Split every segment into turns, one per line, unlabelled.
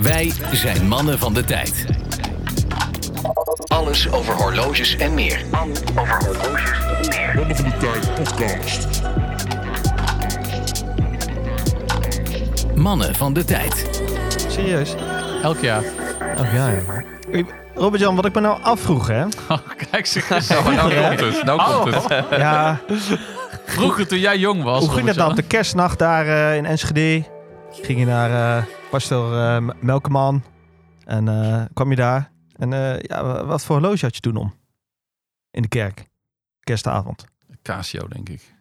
Wij zijn mannen van de tijd. Alles over horloges en meer.
Mannen van de Tijd podcast.
Mannen van de tijd.
Serieus?
Elk jaar.
Oh ja, Robert-Jan, wat ik me nou afvroeg, hè?
Oh, kijk ze eens.
Nou komt het, nou komt het.
Ja,
Vroeger toen jij jong was.
hoe ging dat dan?
Robert-Jan.
nou Op de kerstnacht daar eh, in Enschede ging je naar eh Pastor eh, M- Melkeman en eh, kwam je daar. En eh, ja, wa- wat voor horloge had je toen om? In de kerk, kerstavond.
Casio, denk ik.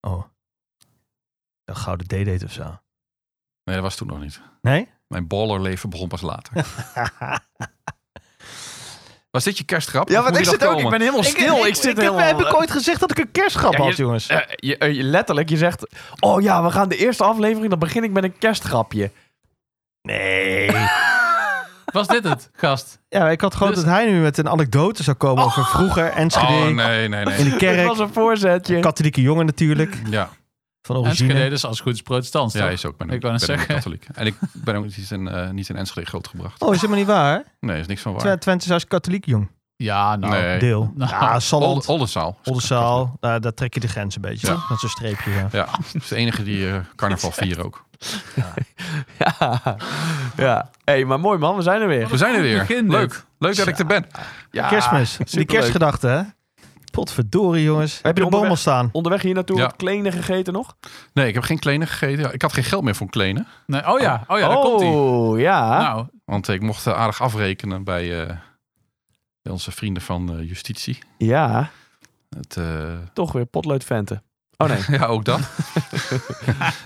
Oh, een gouden D-date of zo.
Nee, dat was toen nog niet.
Nee?
Mijn ballerleven begon pas later. was dit je kerstgrap?
Ja,
Of
want
moet
ik
je
zit
dat
ook. Ik
komen?
ben helemaal stil. Ik, zit
heb,
helemaal...
heb ik ooit gezegd dat ik een kerstgrap
Ja, je-
had, jongens?
Eh, je, eh, je- letterlijk, je zegt... Oh ja, we gaan de eerste aflevering, dan begin ik met een kerstgrapje.
Nee.
Was dit het, gast?
Ja, ik had gewoon
Dus-
dat hij nu met een anekdote zou komen over vroeger Enschede.
Oh, nee, nee, nee.
In de
Dit
kerk.
was een voorzetje.
Katholieke jongen natuurlijk.
Ja,
Van
Enschede
origine.
dus als het goed is protestants,
Ja,
toch?
hij is ook.
Ik wou net
ben ook
zeggen.
katholiek.
En ik ben ook niet in, eh, niet in Enschede grootgebracht.
Oh, is helemaal niet waar?
Nee, is niks van waar.
Twen- Twente is als katholiek jong.
Ja, nou.
Nee.
Deel.
Nou,
ja,
Olde-
Salland,
Oldenzaal.
Oldenzaal. Daar, daar trek je de grens een beetje.
Ja.
toch? Dat is een streepje. Ja.
Ja, dat is de enige die eh, carnaval vieren ook.
Ja. ja. hey, maar mooi man, we zijn er weer.
We zijn er weer.
Begin dit.
Leuk. Leuk dat ik er ben.
Ja,
Kerstmis. Die
superleuk.
kerstgedachte, hè? Potverdorie, jongens. Heb je de boom
onderweg-
al staan?
Onderweg hier naartoe
Ja.
wat klenen gegeten nog?
Nee, ik heb geen klenen gegeten. Ja, Ik had geen geld meer voor klenen.
Nee, oh ja, oh ja, daar komt hij.
oh, ja.
Nou,
Want ik mocht eh, aardig afrekenen bij, eh, bij onze vrienden van eh, justitie.
Ja,
Het, eh,
toch weer potloodventen. Oh nee.
ja, ook dat.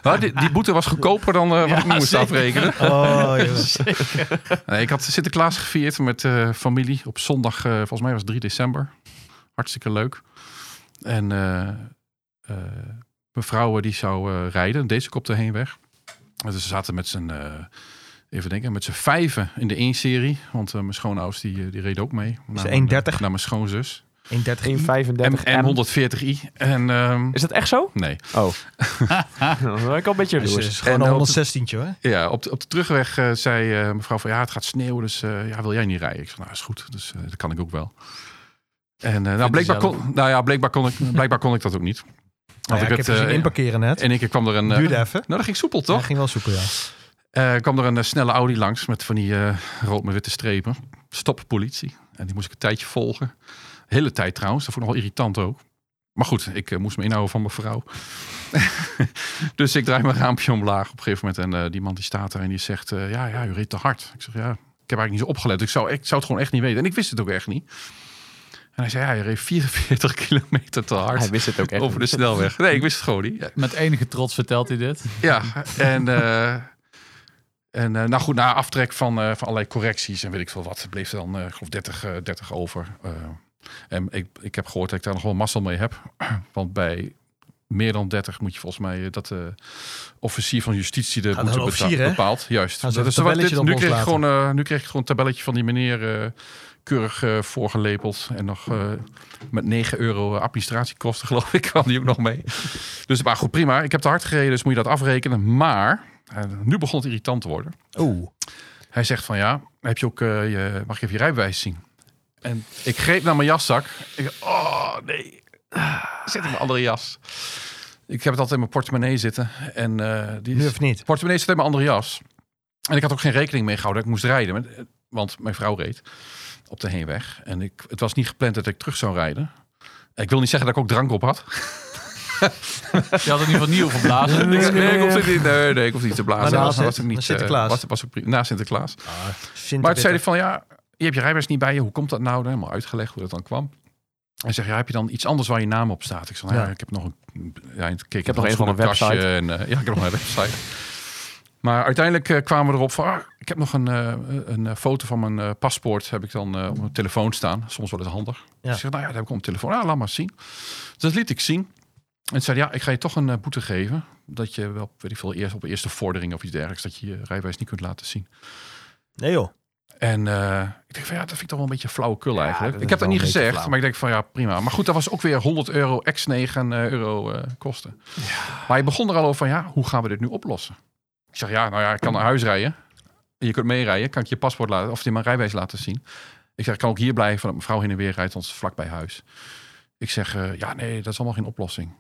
maar die, die boete was goedkoper dan eh, wat ik nu moest afrekenen.
Oh, jongens.
Nee, Eh, ik had Sinterklaas gevierd met eh, familie op zondag. eh, volgens mij was het 3 december. Hartstikke leuk. En eh, eh, mevrouw eh, die zou eh, rijden. Deze op de heenweg. En Dus ze zaten met z'n... eh, even denken. Met z'n vijven in de 1-serie. Want eh, mijn schoonouders die, eh, die reden ook mee. Naar
1,30?
mijn, eh, Naar mijn schoonzus.
1,30
1,35
En, en
M.
140i. En... ehm,
Is dat echt zo?
Nee.
Oh. dat is wel een beetje
Dus het
jaloers.
is gewoon
En
een
op-
116 hoor.
Ja, op de, op de terugweg eh, zei eh, mevrouw van ja, het gaat sneeuwen, dus eh, ja, wil jij niet rijden? Ik zei, nou is goed, dus eh, dat kan ik ook wel. En eh, nou, blijkbaar
zelf.
kon, nou ja, blijkbaar kon, ik, blijkbaar kon ik dat ook niet. Want
Nou ja, ik heb
het,
je zien
eh,
inparkeren net.
in één keer kwam er een. eh,
Duurde even.
nou, dat ging soepel
Hij
toch?
ging wel zoeken, ja.
Eh, kwam er een eh, snelle Audi langs met van die eh, rood met witte strepen. Stop politie. En die moest ik een tijdje volgen. Hele tijd trouwens, dat vond ik nogal irritant ook. Maar goed, ik eh, moest me inhouden van mijn vrouw. dus ik draai mijn raampje omlaag op een gegeven moment. En eh, die man die staat daar en die zegt... eh, ja, ja, u reed te hard. Ik zeg, ja, ik heb eigenlijk niet zo opgelet. Ik zou, ik zou het gewoon echt niet weten. En ik wist het ook echt niet. En hij zei, ja, je reed 44 kilometer te hard
Hij wist het ook echt.
over de snelweg. Nee, ik wist het gewoon niet. Ja,
met enige trots vertelt hij dit.
ja, en, eh, en eh, nou goed, na aftrek van, eh, van allerlei correcties en weet ik veel wat, bleef er dan, eh, ik geloof 30, eh, 30 over. Eh, en ik, ik heb gehoord dat ik daar nog wel mazzel mee heb. Want bij meer dan 30 moet je volgens mij eh, dat de officier van justitie de
Gaat
boete
wel officier,
beta-
hè?
bepaalt. Juist.
Gaan ze
Dat
een
is wat
tabelletje dan
dit, nu, kreeg ik
loslaten?
gewoon, eh, nu kreeg ik gewoon een tabelletje van die meneer eh, keurig eh, voorgelepeld. En nog eh, met 9 euro eh, administratiekosten, geloof ik, kwam die ook nog mee. Dus maar goed, prima. Ik heb te hard gereden, dus moet je dat afrekenen. Maar eh, nu begon het irritant te worden.
Oeh.
Hij zegt van ja, heb je ook, eh, je, mag ik even je rijbewijs zien? En ik greep naar mijn jaszak. Ik dacht, oh nee, zit in mijn andere jas. Ik heb het altijd in mijn portemonnee zitten. En eh, die
Nu
is-
of niet?
portemonnee zit in mijn andere jas. En ik had ook geen rekening mee gehouden dat ik moest rijden. want- Want mijn vrouw reed op de heenweg. En ik, het was niet gepland dat ik terug zou rijden. Ik wil niet zeggen dat ik ook drank op had.
Je had in ieder geval niet overblazen.
Nee, nee, ik hoef het niet, nee, nee, ik hoef niet te blazen.
Maar na
was,
Sint-
was ook niet,
na Sinterklaas.
eh, was, was ook pri- na Sinterklaas. Maar
Sinterwitte.
het zei hij van, ja, je hebt je rijbewijs niet bij je. Hoe komt dat nou? Dan helemaal uitgelegd hoe dat dan kwam. Hij zegt, ja, heb je dan iets anders waar je naam op staat? Ik zei, nou ja,
Ja.
ik heb nog een... Ja, ik, keek
heb
in
nog een van een
handschoenenkastje
website.
En, eh, ja, ik heb nog een website. Maar uiteindelijk eh, kwamen we erop van, ah, ik heb nog een, eh, een eh, foto van mijn eh, paspoort. Heb ik dan eh, op mijn telefoon staan. Soms wel eens handig.
Ja.
Dus ik zeg, nou ja, dat heb ik op mijn telefoon. Ah, laat maar zien. Dus dat liet ik zien. En zei, hij, ja, ik ga je toch een eh, boete geven. Dat je wel, weet ik veel, eerst op eerste vordering of iets dergelijks. Dat je je rijbewijs niet kunt laten zien.
Nee joh.
En eh, ik denk van ja, dat vind ik toch wel een beetje flauwekul eigenlijk.
dat
Ik heb
is
dat
wel
niet
een beetje
gezegd,
flauw.
maar ik denk van ja, prima. Maar goed, dat was ook weer 100 euro ex 9 euro eh, kosten. Maar je begon er al over van ja, hoe gaan we dit nu oplossen? Ik zeg ja, nou ja, ik kan naar huis rijden. en je kunt meerijden, kan ik je paspoort laten, of je mijn rijbewijs laten zien. Ik zeg, ik kan ook hier blijven, want mijn vrouw heen en weer rijdt ons vlakbij huis. Ik zeg, eh, ja, nee, dat is allemaal geen oplossing.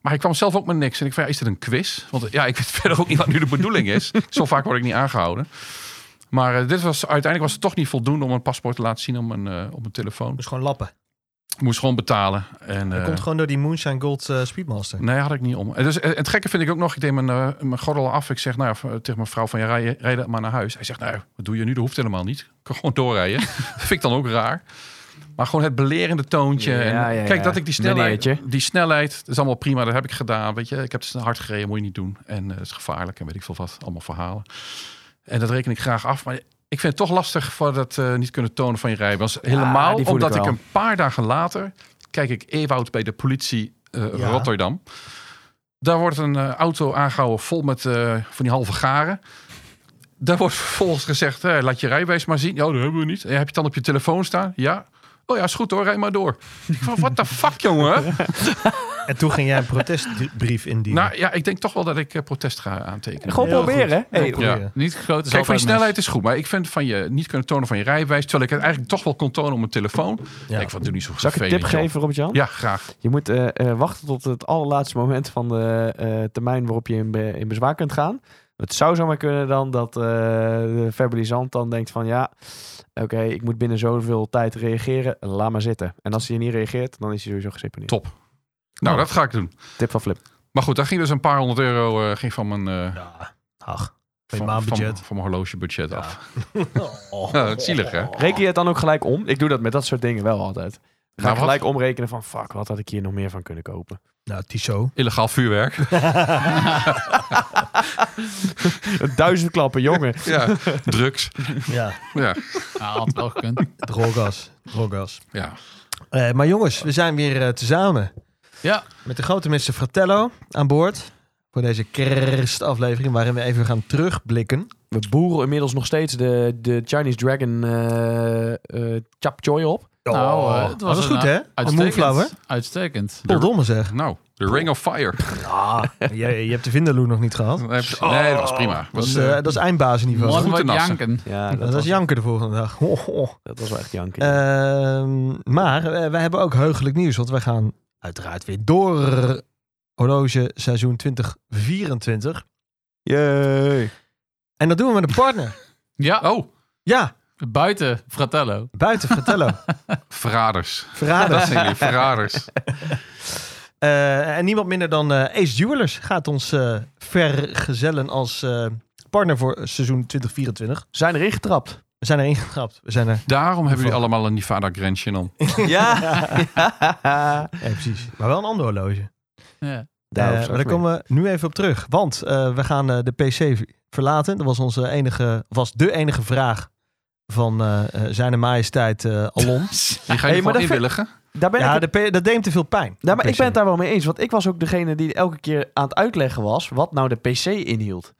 Maar ik kwam zelf ook met niks. En ik vraag, is dit een quiz? Want eh, ja, ik weet verder ook niet wat nu de bedoeling is. Zo vaak word ik niet aangehouden. Maar eh, dit was, uiteindelijk was het toch niet voldoende om een paspoort te laten zien op mijn, eh, op mijn telefoon.
Dus gewoon lappen.
Ik moest gewoon betalen. En,
Dat
eh,
komt gewoon door die Moonshine Gold eh, Speedmaster.
Nee, had ik niet om. En Dus, eh, het gekke vind ik ook nog, ik deed mijn, eh, mijn gordel af. Ik zeg nou, ja, tegen mijn vrouw van, ja, rij, rij dat maar naar huis. Hij zegt, nou, wat doe je nu? Dat hoeft helemaal niet. Ik kan gewoon doorrijden. dat vind ik dan ook raar. Maar gewoon het belerende toontje.
Ja, ja,
en,
ja.
Kijk, dat ik die snelheid,
Meneertje.
die snelheid, dat is allemaal prima. Dat heb ik gedaan, weet je. Ik heb het hard gereden, moet je niet doen. En eh, het is gevaarlijk en weet ik veel wat. Allemaal verhalen. En dat reken ik graag af. Maar ik vind het toch lastig voor dat eh, niet kunnen tonen van je rijbewijs. Helemaal
die voel ik
omdat ik,
wel.
een paar dagen later kijk ik Ewout bij de politie eh,
Ja.
Rotterdam. Daar wordt een eh, auto aangehouden vol met eh, van die halve garen. Daar wordt vervolgens gezegd, eh, laat je rijbewijs maar zien. Ja, dat hebben we niet. Ja, heb je het dan op je telefoon staan? Ja. Oh ja, is goed hoor, rij maar door. Ik van, what the fuck, jongen?
En toen ging jij een protestbrief indienen.
nou ja, ik denk toch wel dat ik eh, protest ga aantekenen.
Gewoon
Heel
proberen. hè? Hey,
Goeie.
ja.
Niet groot
Kijk,
is
van
altijd
je
mis.
snelheid is goed. Maar ik vind van je niet kunnen tonen van je rijbewijs... terwijl ik het eigenlijk toch wel kon tonen op mijn telefoon.
Ja.
Ik vond het niet zo
Zal ik een
vervelend.
tip
joh.
geven, Robert-Jan?
Ja, graag.
Je moet eh, eh, wachten tot het allerlaatste moment van de eh, termijn waarop je in, be- in bezwaar kunt gaan. Het zou zomaar kunnen dan dat eh, de verbalisant dan denkt van ja, oké, ik moet binnen zoveel tijd reageren, laat maar zitten. En als hij niet reageert, dan is hij sowieso geseponeerd.
Top. Nou,
Oh.
dat ga ik doen.
Tip van Flip.
Maar goed, daar ging dus een paar honderd euro eh, ging van mijn... eh,
Ja, ach. Van je
van, van,
maandbudget.
van mijn horlogebudget af.
Oh.
Ja, het is zielig, hè?
Reken je het dan ook gelijk om? Ik doe dat met dat soort dingen wel altijd. Ga
Nou,
ik
wat?
gelijk omrekenen van fuck, wat had ik hier nog meer van kunnen kopen?
Nou, Tissot.
Illegaal vuurwerk.
Duizend klappen, jongen.
ja, drugs.
Ja,
Ja,
Ja, had wel gekund.
drogas. drogas.
ja.
Eh, maar jongens, we zijn weer eh, tezamen.
Ja.
Met de grote Mr. Fratello aan boord. Voor deze kerstaflevering waarin we even gaan terugblikken.
We boeren inmiddels nog steeds de, de Chinese Dragon eh eh chap choy op.
Nou, eh,
Oh,
het was
dat is
een,
goed
eh,
hè? Een moonflower.
Uitstekend.
Verdomme zeg.
Nou, The Ring of Fire.
je, Ah, je hebt de Vindaloo nog niet gehad.
Nee, nee, dat was prima.
Dat
Was,
is,
eh,
eh, dat is eindbazenniveau.
Mooi.
Morgen
goed te
wordt
nassen.
janken.
Ja,
dat, is
was,
janken de volgende dag. Ho, ho.
dat was wel echt janken.
Eh, Ehm, maar eh, wij hebben ook heugelijk nieuws, want wij gaan uiteraard weer door horloge seizoen 2024.
Jee.
En dat doen we met een partner.
Ja,
Oh,
Ja,
buiten Fratello.
buiten Fratello.
verraders.
Verrader.
Dat zijn jullie, verraders.
Eh, en niemand minder dan eh, Ace Jewelers gaat ons eh, vergezellen als eh, partner voor seizoen 2024.
Zijn erin getrapt.
We zijn erin getrapt. We zijn er.
Daarom hebben jullie allemaal een Nivada Grand Channel.
ja.
Ja, precies. Maar wel een ander horloge.
Ja.
Daar
Eh, maar daar komen we nu even op terug. Want eh, we gaan eh, de PC verlaten. Dat was, onze enige, was de enige vraag van eh eh, zijn majesteit eh, Alon.
Die ga je
Hey, maar
gewoon
dat vind-
inwilligen.
Daar ben
ja,
ik...
de P- dat deed hem te veel pijn.
Ja, maar
de
ik ben
PC.
het daar wel mee eens. Want ik was ook degene die elke keer aan het uitleggen was wat nou de PC inhield.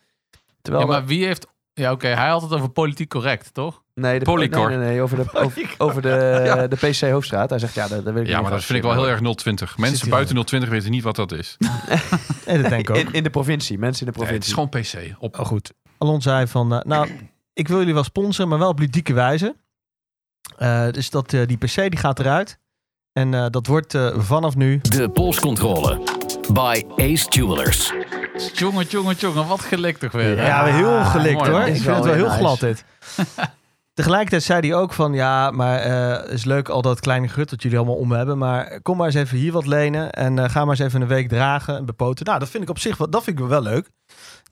Terwijl
Ja, maar wie heeft... Ja, oké, hij had het over politiek correct, toch?
nee, de,
Polycar.
Nee, nee, nee, over de, over, over de, de PC Hoofdstraat. Hij zegt, ja, dat, dat wil ik
Ja,
niet
maar
gaan
dat vind ik wel heel
zitten.
erg 020.
Zit
Mensen
hier
buiten 020 weten niet wat dat is. Nee,
Nee, dat denk ik ook.
In, in de provincie, mensen in de
het is
provincie.
gewoon PC. Op.
Oh, goed. Alon zei van, eh, nou, ik wil jullie wel sponsoren, maar wel op ludieke wijze. Eh, dus dat, eh, die PC die gaat eruit. En eh, dat wordt eh, vanaf nu...
De polscontrole. By Ace Jewelers.
Jongen, jongen, jongen, wat gelikt toch weer. hè?
Ja, we heel gelikt
mooi,
hoor.
man.
Ik
Is
vind het wel
wel
heel
nice.
glad dit. Tegelijkertijd zei hij ook van, ja, maar eh is leuk al dat kleine grut dat jullie allemaal om hebben. Maar kom maar eens even hier wat lenen en eh, ga maar eens even een week dragen en bepoten. Nou, dat vind ik op zich wel, dat vind ik wel leuk.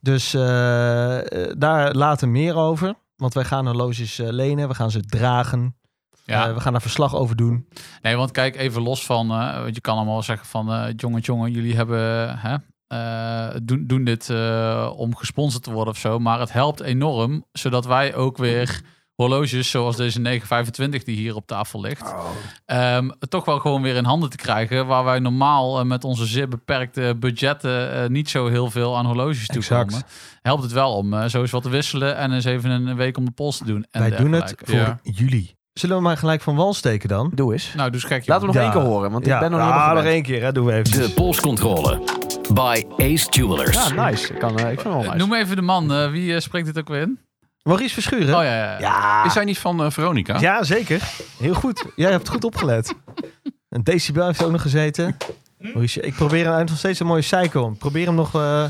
Dus eh, eh, daar later meer over. Want wij gaan horloges eh, lenen, we gaan ze dragen.
Ja.
Eh, we gaan daar verslag over doen.
Nee, want kijk, even los van... eh, want je kan allemaal zeggen van... eh jongen, jongen, jullie hebben... Hè, eh, doen, doen dit eh, om gesponsord te worden of zo. Maar het helpt enorm, zodat wij ook weer horloges zoals deze 925 die hier op tafel ligt... ehm, toch wel gewoon weer in handen te krijgen... waar wij normaal eh, met onze zeer beperkte budgetten... eh, niet zo heel veel aan horloges toe
Exact.
komen. Helpt het wel om eh, zo eens wat te wisselen... en eens even een week om de pols te doen. En
Wij doen het
dergelijke.
voor
Ja.
jullie. Zullen we maar gelijk van wal steken dan?
Doe eens.
Nou, dus gek.
Laten we nog
Ja.
één keer horen, want ik ben nog niet
Ah,
helemaal
nog
gewend.
één keer, hè? Doen we even.
De polscontrole. By Ace Jewelers.
Ja, nice. Ik, kan, eh, ik vind het wel nice.
Noem even de man. eh, wie eh, spreekt dit ook weer in?
Maurice Verschuren?
Oh ja, ja. ja.
Ja.
Is hij niet van eh, Veronica?
Ja, zeker. Heel goed. Jij hebt goed opgelet. Een decibel heeft ook nog gezeten. Maurice, ik probeer hem nog steeds een mooie cycle. om. Probeer hem nog eh,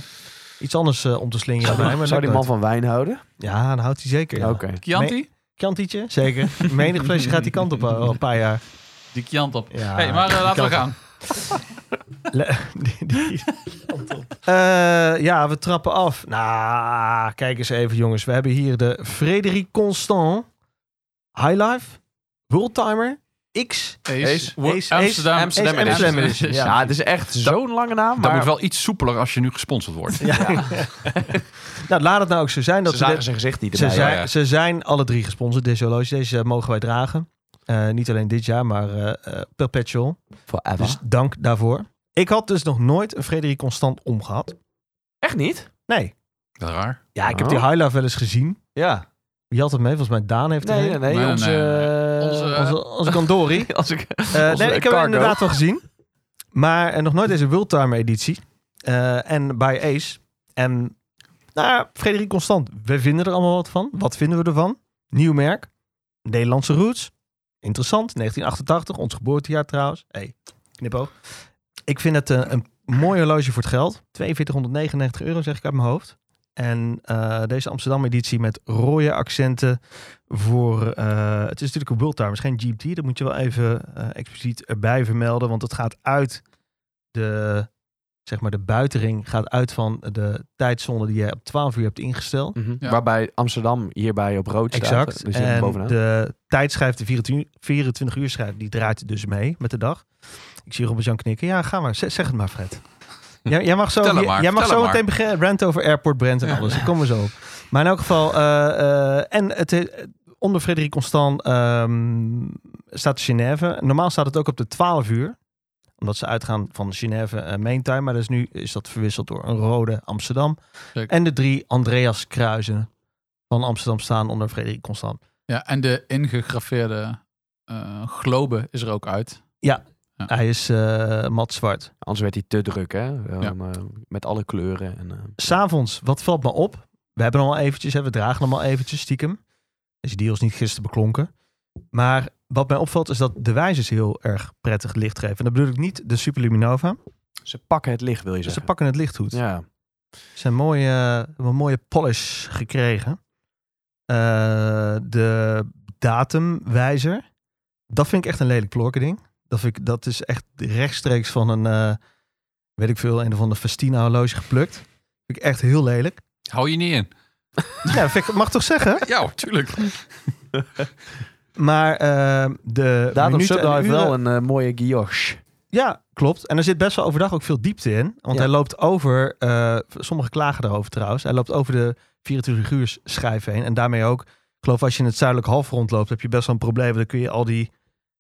iets anders eh, om te slingeren. bij hem, maar
Zou die
dat
man
lukt
van wijn houden?
nooit. Ja, dan houdt hij zeker. Ja.
Oké.
Chianti?
Kantietje? Zeker. Menig flesje gaat die kant op eh, al al een paar jaar.
Die Chiant op.
Ja,
hey, maar eh, laten we gaan.
Le- die- die- Eh, ja, we trappen af. Nou, kijk eens even, jongens. We hebben hier de Frédéric Constant Highlife Worldtimer X.
Ace.
Ace.
Wo-
Ace,
Amsterdam.
Ace,
Amsterdam
Ace,
Edition.
Amsterdam Edition,
Ja, het is echt zo'n lange naam.
Dat
Maar
moet wel iets soepeler als je nu gesponsord wordt.
Ja. nou, laat het nou ook zo zijn dat
ze
we
zagen
dit-
zijn gezicht niet
ze,
erbij.
zijn,
ja, ja.
ze zijn alle drie gesponsord, deze horloge. Deze eh, mogen wij dragen. Eh, niet alleen dit jaar, maar eh, eh, perpetual.
Forever.
Dus dank daarvoor. Ik had dus nog nooit een Frederik Constant omgehad.
echt niet?
Nee.
Dat is raar.
Ja, ik heb die
Oh.
highlife wel eens gezien.
Ja.
Wie had het mee? Volgens mij Daan heeft het
Nee,
mee.
nee, nee.
Nee,
onze... eh,
nee. Onze-
Onze, onze Kandori.
Als ik...
Eh,
Onze
nee, ik heb hem
cargo.
inderdaad wel gezien. Maar eh, nog nooit deze Wildtimer editie. Eh, en bij Ace. En nou, Frederik Constant. We vinden er allemaal wat van. Wat vinden we ervan? Nieuw merk. Nederlandse roots. Interessant. 1988. Ons geboortejaar trouwens. Hey, knipoog. Ik vind het eh, een mooi horloge voor het geld. 4299 euro zeg ik uit mijn hoofd. En eh, deze Amsterdam editie met rode accenten voor... eh, het is natuurlijk een Worldtimer, het is geen GMT. Dat moet je wel even eh, expliciet erbij vermelden. Want het gaat uit de... Zeg maar de buitering gaat uit van de tijdzone die je op 12 uur hebt ingesteld.
Ja.
Mhm. Waarbij Amsterdam hierbij op rood staat.
Exact.
Dus je hebt hem
en
bovenaan.
de tijdschijf, de 24 24 uur schijf, die draait dus mee met de dag. Ik zie Robert-Jan knikken. Ja, ga maar. Z- Zeg het maar, Fred. Jij, jij mag zo,
Vertel hem
jij-
maar,
jij mag
vertel
zo
hem maar.
meteen beginnen. Rant over Airport Brand en alles. Ik kom er zo op. Maar in elk geval... eh, eh, en het, he- onder Frederik Constant ehm, staat Genève. Normaal staat het ook op de 12 uur. Omdat ze uitgaan van Genève eh, Main Time. Maar dus nu is dat verwisseld door een rode Amsterdam.
Zeker.
En de drie Andreas Kruizen van Amsterdam staan onder Frederik Constant.
Ja, en de ingegraveerde eh, globe is er ook uit.
Hij is eh mat zwart.
Anders werd hij te druk, hè? Um, eh, met alle kleuren. En, eh,
S'avonds, wat valt me op? We hebben hem al eventjes, hè, we dragen hem al eventjes stiekem. Deze deals niet gisteren beklonken. Maar wat mij opvalt is dat de wijzers heel erg prettig licht geven. En dat bedoel ik niet de Superluminova.
ze pakken het licht, wil je
Ze
zeggen.
pakken het licht goed.
Ja.
Ze hebben een mooie, hebben een mooie polish gekregen. Eh, de datumwijzer. Dat vind ik echt een lelijk plorken ding. Dat, vind ik, dat is echt rechtstreeks van een, eh, weet ik veel, een of ander Festina horloge geplukt. Vind ik echt heel lelijk.
Hou je niet in.
Ja, vind ik, mag toch zeggen?
Ja, hoor, tuurlijk.
Maar eh, de
Datum
minuten en
Subdive heeft
uren-
wel een eh, mooie guilloche.
Ja, klopt. En er zit best wel overdag ook veel diepte in. Want
Ja.
hij loopt over, eh, sommigen klagen daarover trouwens, hij loopt over de 24 uur schijf heen. En daarmee ook, ik geloof als je in het zuidelijk halfrond loopt, heb je best wel een probleem. want Dan kun je al die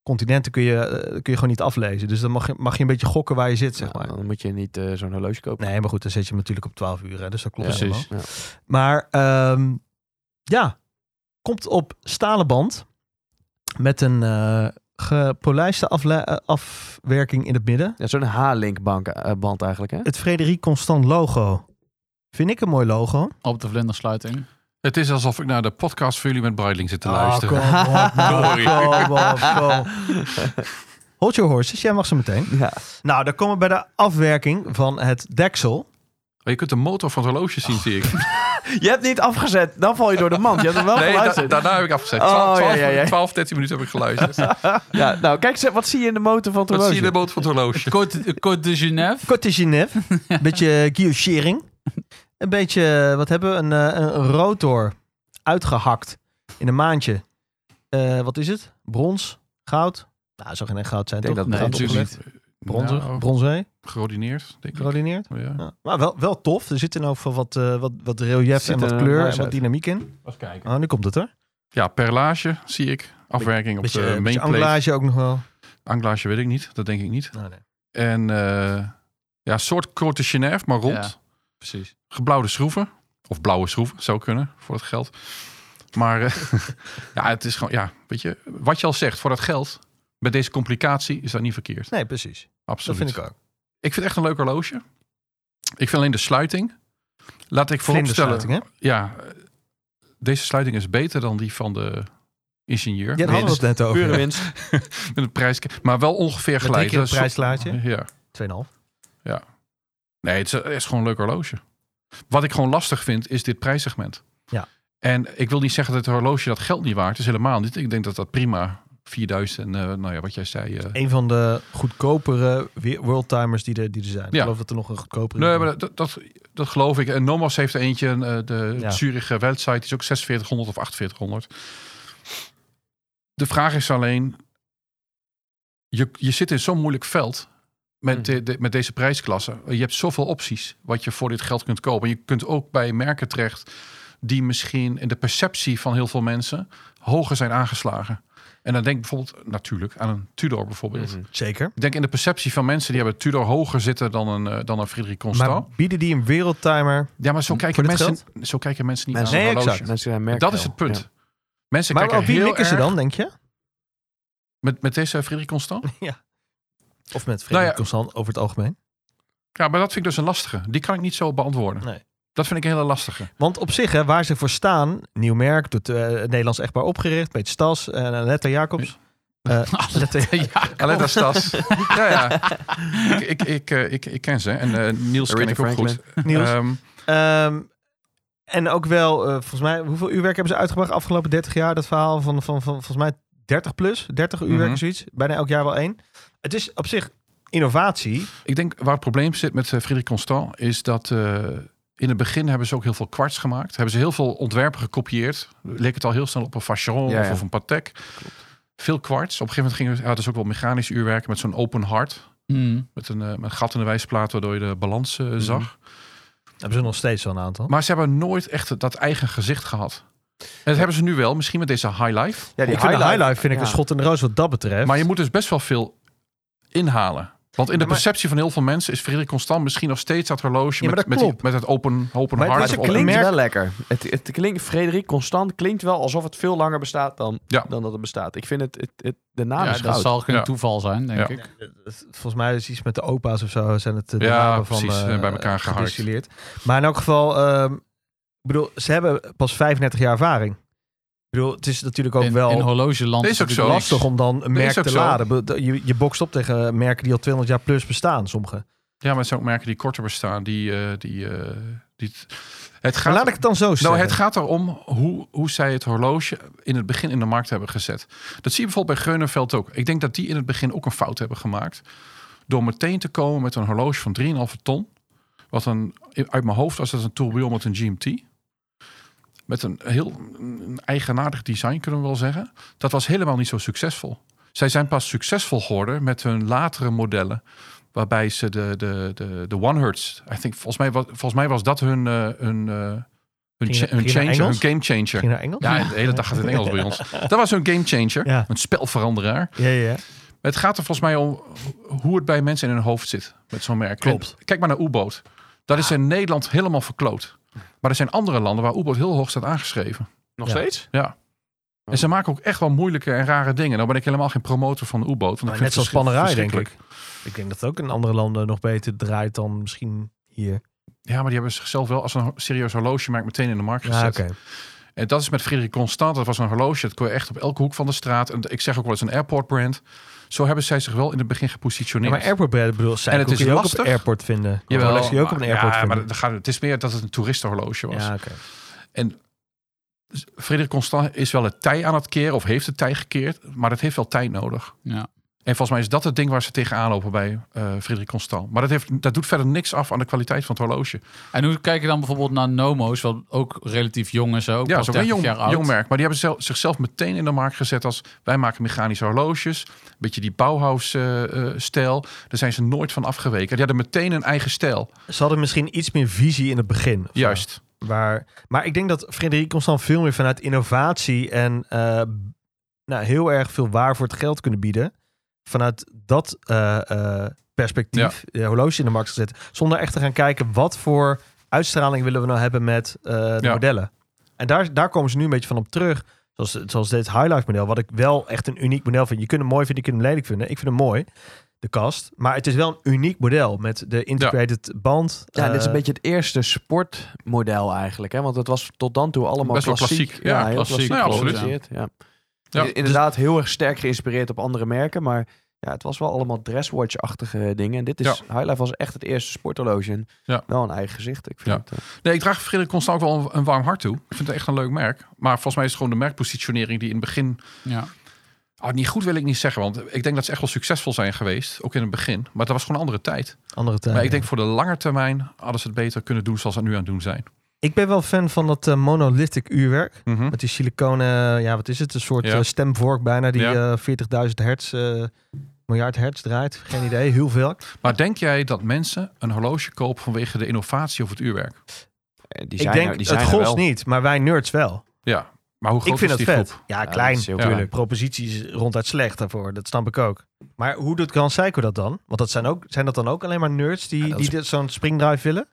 continenten kun je, eh, kun je gewoon niet aflezen. Dus dan mag je, mag je een beetje gokken waar je zit, zeg maar.
Dan moet je niet eh, zo'n horloge kopen.
Nee, maar goed, dan zet je hem natuurlijk op 12 uur, hè, dus dat klopt
Ja,
helemaal.
precies.
Ja.
Maar ehm, ja, komt op stalen band met een eh, gepolijste afle- eh, afwerking in het midden.
Ja, zo'n H-link bank, eh, band eigenlijk, hè?
Het Frederik Constant logo. Vind ik een mooi logo.
Op de vlindersluiting.
Het is alsof ik naar de podcast van jullie met Breitling
Ah,
zit te luisteren.
Oh,
Sorry.
Hold your horses, jij mag ze meteen.
Ja.
Nou, dan komen we bij de afwerking van het deksel.
Maar je kunt de motor van het horloge zien, zie ik.
Je hebt niet afgezet, dan val je door de mand. Je hebt hem wel
Nee, da-
geluisterd.
daarna heb ik afgezet.
Oh,
12,
ja, ja, ja.
12, 13 minuten heb ik geluisterd.
Ja, nou, kijk, ze- wat zie je in de motor van het
Wat zie je
horloge?
in de motor van het horloge?
Côte, Côte de Genève.
Côte de Genève. Een beetje guillochering. Een beetje, wat hebben we? Een, eh, een rotor uitgehakt in een maandje. Eh, wat is het? Brons? Goud? Nou, het zou geen echt goud zijn,
Ik denk
toch?
dat het
Goud
brons is.
opgelegd. Bronzer,
Nou,
bronzé,
Geordineerd, denk ik.
gerodineerd.
Ja.
Ja. Maar wel, wel tof. Er zit in over wat, eh, wat, wat relief
Ziet
en wat
er
kleur
nice
en wat
uit.
dynamiek in.
Even kijken.
Oh, nu komt het hoor.
Ja, perlage zie ik. Afwerking op
Beetje,
de
eh, beetje
mainplate. Anglage.
anglage ook nog wel.
weet ik niet. Dat denk ik niet.
Nou, nee.
En eh ja, soort korte Genève, maar rond.
Ja. Precies.
geblauwde schroeven. Of blauwe schroeven, zou kunnen, voor het geld. Maar eh, ja, het is gewoon, ja, weet je, wat je al zegt, voor dat geld, met deze complicatie is dat niet verkeerd.
Nee, precies. Dat
Absoluut.
vind ik ook.
Ik vind het echt een leuk horloge. Ik vind alleen de sluiting. Laat ik vooropstellen.
Vlindersluiting, hè?
Ja, eh, deze sluiting is beter dan die van de ingenieur.
Oh, Ja, daar hadden we het net over.
Pure
Met
winst.
Met een prijs, maar wel ongeveer
drie
gelijk.
keer
Dat
een
is-
prijslaadje.
Ja.
2,5.
Nee, het is, het is gewoon een leuk horloge. Wat ik gewoon lastig vind, is dit prijssegment.
Ja.
En ik wil niet zeggen dat het horloge dat geld niet waard is. Helemaal niet. Ik denk dat dat prima 4000 en eh, nou ja, wat jij zei. eh
Een van de goedkopere we- worldtimers die er, die er zijn. Ik
Ja.
geloof dat er nog een goedkopere
nee,
is.
maar dat, dat, dat geloof ik. En Nomos heeft er eentje. en, eh, de
Ja.
Zurich website is ook 4600 of 4800. De vraag is alleen, je, je zit in zo'n moeilijk veld met,
Mhm.
de- de- met deze prijsklasse. Je hebt zoveel opties wat je voor dit geld kunt kopen. En je kunt ook bij merken terecht die misschien in de perceptie van heel veel mensen hoger zijn aangeslagen. En dan denk ik bijvoorbeeld natuurlijk aan een Tudor bijvoorbeeld.
Mhm.
Zeker.
Ik denk in de perceptie van mensen die hebben Tudor hoger zitten dan een, eh, dan een Frederik Constant.
Maar bieden die een wereldtimer?
Ja, maar zo kijken,
dit
mensen, zo kijken mensen niet
Mensen-
naar
Nee,
een horloge.
exact.
Mensen zijn merken
Dat is
wel.
het punt. Mensen
Maar
kijken
op wie
heel
mikken ze
erg-
dan, denk je?
Met, met deze Frederik Constant?
Of met
Nou
Frederik
ja.
Constant over het algemeen?
Ja, maar dat vind ik dus een lastige. Die kan ik niet zo beantwoorden.
Nee.
Dat vind ik een hele lastige.
Want op zich, hè, waar ze voor staan, nieuw merk, doet eh, het Nederlands echtbaar opgericht, Peet Stas en Letta Jacobs. Eh, Letta-
ja,
Alleen dat Stas. ja, ja. Ik, ik, ik, eh, ik, ik ken ze. En eh, Niels ken ik
Aretha
ook
Franklin.
goed.
Niels.
Ehm,
Ehm, en ook wel, eh, volgens mij, hoeveel uurwerk hebben ze uitgebracht afgelopen 30 jaar? Dat verhaal van, van, van volgens mij 30 plus, 30 uurwerk
Mhm.
of zoiets. Bijna elk jaar wel één. Het is op zich innovatie.
ik denk waar het probleem zit met eh, Frederik Constant... is dat eh, in het begin hebben ze ook heel veel kwarts gemaakt. Hebben ze heel veel ontwerpen gekopieerd. Leek het al heel snel op een Vacheron
Ja,
of,
ja.
of een Patek. Veel kwarts. Op een gegeven moment gingen, ze- hadden ze ook wel mechanisch uurwerk... met zo'n open hart.
Mm.
Met een, eh, met een gat in de wijsplaat waardoor je de balans
Mhm.
eh, zag.
Hebben ze nog steeds zo'n aantal.
Maar ze hebben nooit echt dat eigen gezicht gehad. En dat hebben ze nu wel, misschien met deze high life.
Ja,
ik vind de highlight vind ik
ja.
een schot in de roos wat dat betreft.
Maar je moet dus best wel veel inhalen. Want in de
Ja, maar-
perceptie van heel veel mensen is Frederik Constant misschien nog steeds dat horloge
Ja, maar
met,
dat
met, die-
klopt.
met het open, open
Maar het
hart.
is een
of-
Het klinkt
merk-
wel lekker. Het, het klinkt, Frederik Constant klinkt wel alsof het veel langer bestaat dan,
Ja.
dan dat het bestaat. Ik vind het, het, het- de naam
ja,
Ah, is
dat
goud.
zal geen
Ja.
toeval zijn, denk
Ja.
ik.
Eh, Volgens mij is iets met de opa's of zo. Zijn het eh, de
Ja,
namen van,
precies,
eh,
bij elkaar geharkt.
gedistilleerd. Maar in elk geval, ehm, ik bedoel, ze hebben pas 35 jaar ervaring. Ik bedoel, het is natuurlijk ook
In,
wel
in horlogeland
Is ook
natuurlijk
zo.
lastig.
lastig om dan een merk
is ook
te
zo.
laden. Ik bedoel, Je, je bokst op tegen merken die al 200 jaar plus bestaan, sommige.
Ja, maar het zijn ook merken die korter bestaan. Die, eh, die, eh, die, het
Maar
gaat
laat ik het dan zo zeggen.
Nou, het gaat erom hoe, hoe zij het horloge in het begin in de markt hebben gezet. Dat zie je bijvoorbeeld bij Greunenveld ook. Ik denk dat die in het begin ook een fout hebben gemaakt. Door meteen te komen met een horloge van 3,5 ton. Wat een, uit mijn hoofd was dat een tourbillon met een GMT. Met een heel een eigenaardig design kunnen we wel zeggen. Dat was helemaal niet zo succesvol. Zij zijn pas succesvol geworden met hun latere modellen. Waarbij ze de, de, de, de One Hertz. I think, volgens, mij, was- volgens mij was dat hun, eh, hun, eh, hun,
Ging je-
cha- hun
ging je naar
changer, hun
Engels?
game changer.
Ging naar Engels?
Ja, de hele dag gaat het in Engels bij ons. Dat was hun game changer.
Ja.
Een spelveranderaar.
ja, ja. ja.
Het gaat er volgens mij om hoe het bij mensen in hun hoofd zit met zo'n merk.
Klopt.
En kijk maar naar U-boot. Dat is in Nederland helemaal verkloot. Maar er zijn andere landen waar U-boot heel hoog staat aangeschreven.
Nog
Ja.
steeds?
Ja. En ze maken ook echt wel moeilijke en rare dingen. Nou ben ik helemaal geen promotor van de U-boot. want ik
Maar
vind
net
het
zoals Panerai, denk
verschrikkelijk.
ik. Ik denk dat het ook in andere landen nog beter draait dan misschien hier.
Ja, maar die hebben zichzelf wel als een ho- serieus horlogemerk meteen in de markt gezet.
Ja, Ah, oké.
En dat is met Frederik Constant. Dat was een horloge. Dat kon je echt op elke hoek van de straat. En ik zeg ook wel eens een airport brand. Zo hebben zij zich wel in het begin
Ja,
gepositioneerd.
maar airport bread, bedoel,
dus- En
zij
het
kun
is
je ook op
lastig.
een airport vinden.
Jawel,
Rolex kun je ook op een
maar-
airport
ja, maar
vinden.
dat gaat, het is meer dat het een toeristenhorloge was.
ja, oké.
Frederik Constant is wel het tij aan het keren, of heeft het tij gekeerd, maar dat heeft wel tijd nodig.
Ja.
En volgens mij is dat het ding waar ze tegenaan lopen bij eh Frederik Constant. Maar dat, heeft, dat doet verder niks af aan de kwaliteit van het horloge.
En hoe kijk je dan bijvoorbeeld naar Nomo's, wat ook relatief jong is, hè, ook
ja,
pas
zo'n een
30
jong,
jaar oud.
jong merk. Maar die hebben zelf- zichzelf meteen in de markt gezet als wij maken mechanische horloges. Een beetje die Bauhaus-stijl. Daar zijn ze nooit van afgeweken. Die hadden meteen een eigen stijl.
Ze hadden misschien iets meer visie in het begin. of zo.
Juist.
Waar, maar ik denk dat Frederik Constant veel meer vanuit innovatie en eh, nou, heel erg veel waar voor het geld kunnen bieden. Vanuit dat eh, eh, perspectief de horloge in de markt gezet. Zonder echt te gaan kijken wat voor uitstraling willen we nou hebben met eh, de
Ja.
modellen. En daar, daar komen ze nu een beetje van op terug. Zoals, zoals dit highlight model, wat ik wel echt een uniek model vind. Je kunt hem mooi vinden, je kunt hem lelijk vinden. Ik vind hem mooi. de kast. Maar het is wel een uniek model met de integrated band.
Ja, dit is een
eh,
beetje het eerste sportmodel eigenlijk. Hè? Want het was tot dan toe allemaal
Best wel
klassiek.
klassiek, ja,
heel
klassiek,
klassiek
ja, absoluut.
geproduceerd, Ja.
Ja,
I- Inderdaad, heel erg sterk geïnspireerd op andere merken. Maar ja, het was wel allemaal dresswatch-achtige dingen. En dit is, Highlife was echt het eerste sporthorloge. En
Ja.
Wel een eigen gezicht. Ik vind
Ja.
het, eh,
Nee, ik draag Frederik Constant ook wel een, een warm hart toe. Ik vind het echt een leuk merk. Maar volgens mij is het gewoon de merkpositionering die in het begin...
Ja.
Ah, niet goed wil ik niet zeggen, want ik denk dat ze echt wel succesvol zijn geweest. Ook in het begin. Maar dat was gewoon een andere tijd.
andere tijd.
maar ik denk voor de lange termijn hadden ze het beter kunnen doen zoals ze het nu aan het doen zijn.
Ik ben wel fan van dat eh, monolithic uurwerk.
Mhm.
Met die siliconen, eh, ja, wat is het? Een soort
Ja.
eh, stemvork bijna die
Ja.
eh 40.000 hertz, eh, miljard hertz draait. Geen idee, heel veel.
Maar denk jij dat mensen een horloge kopen vanwege de innovatie of het uurwerk?
die
ik
zijn
denk,
er, die zijn
het
er
gos
wel.
niet, maar wij nerds wel.
Ja, maar hoe groot
Ik vind
is
dat
die
vet.
groep?
Ja,
Ja,
klein.
dat is heel
Ja.
moeilijk.
Proposities ronduit slecht daarvoor, dat snap ik ook. Maar hoe doet Grand Seiko dat dan? Want dat zijn, ook, zijn dat dan ook alleen maar nerds die,
Ja, dat
die
is-
dit zo'n springdrive willen?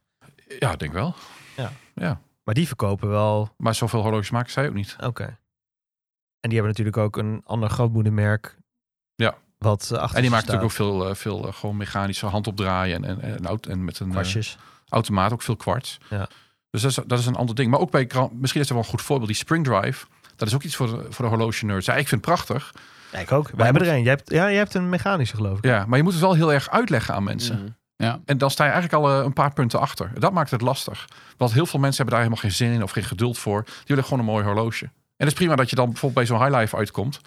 Ja, ik denk wel.
Ja.
ja.
Maar die verkopen wel
Maar zoveel horloges maken zij ook niet.
Oké. En die hebben natuurlijk ook een ander grootmoedermerk.
Ja.
Wat eh, achter
En
ze
die maakt
staat.
natuurlijk ook veel, eh, veel eh, gewoon mechanische handopdraaien en, en, en, aut- en met een eh,
kwastjes.
automaat ook veel kwarts.
Ja.
Dus dat is, dat is een ander ding. Maar ook bij, Gran- misschien is dat wel een goed voorbeeld, die Spring Drive. Dat is ook iets voor de, voor de horloge nerds. Ja, ik vind het prachtig.
Ja, ik ook.
je
Wij hebben
moet-
er een. Jij hebt, ja, jij hebt een mechanische geloof ik.
Ja, maar je moet het wel heel erg uitleggen aan mensen.
Mhm.
En dan sta je eigenlijk al eh, een paar punten achter. Dat maakt het lastig. Want heel veel mensen hebben daar helemaal geen zin in of geen geduld voor. Die willen gewoon een mooi horloge. En het is prima dat je dan bijvoorbeeld bij zo'n highlife uitkomt.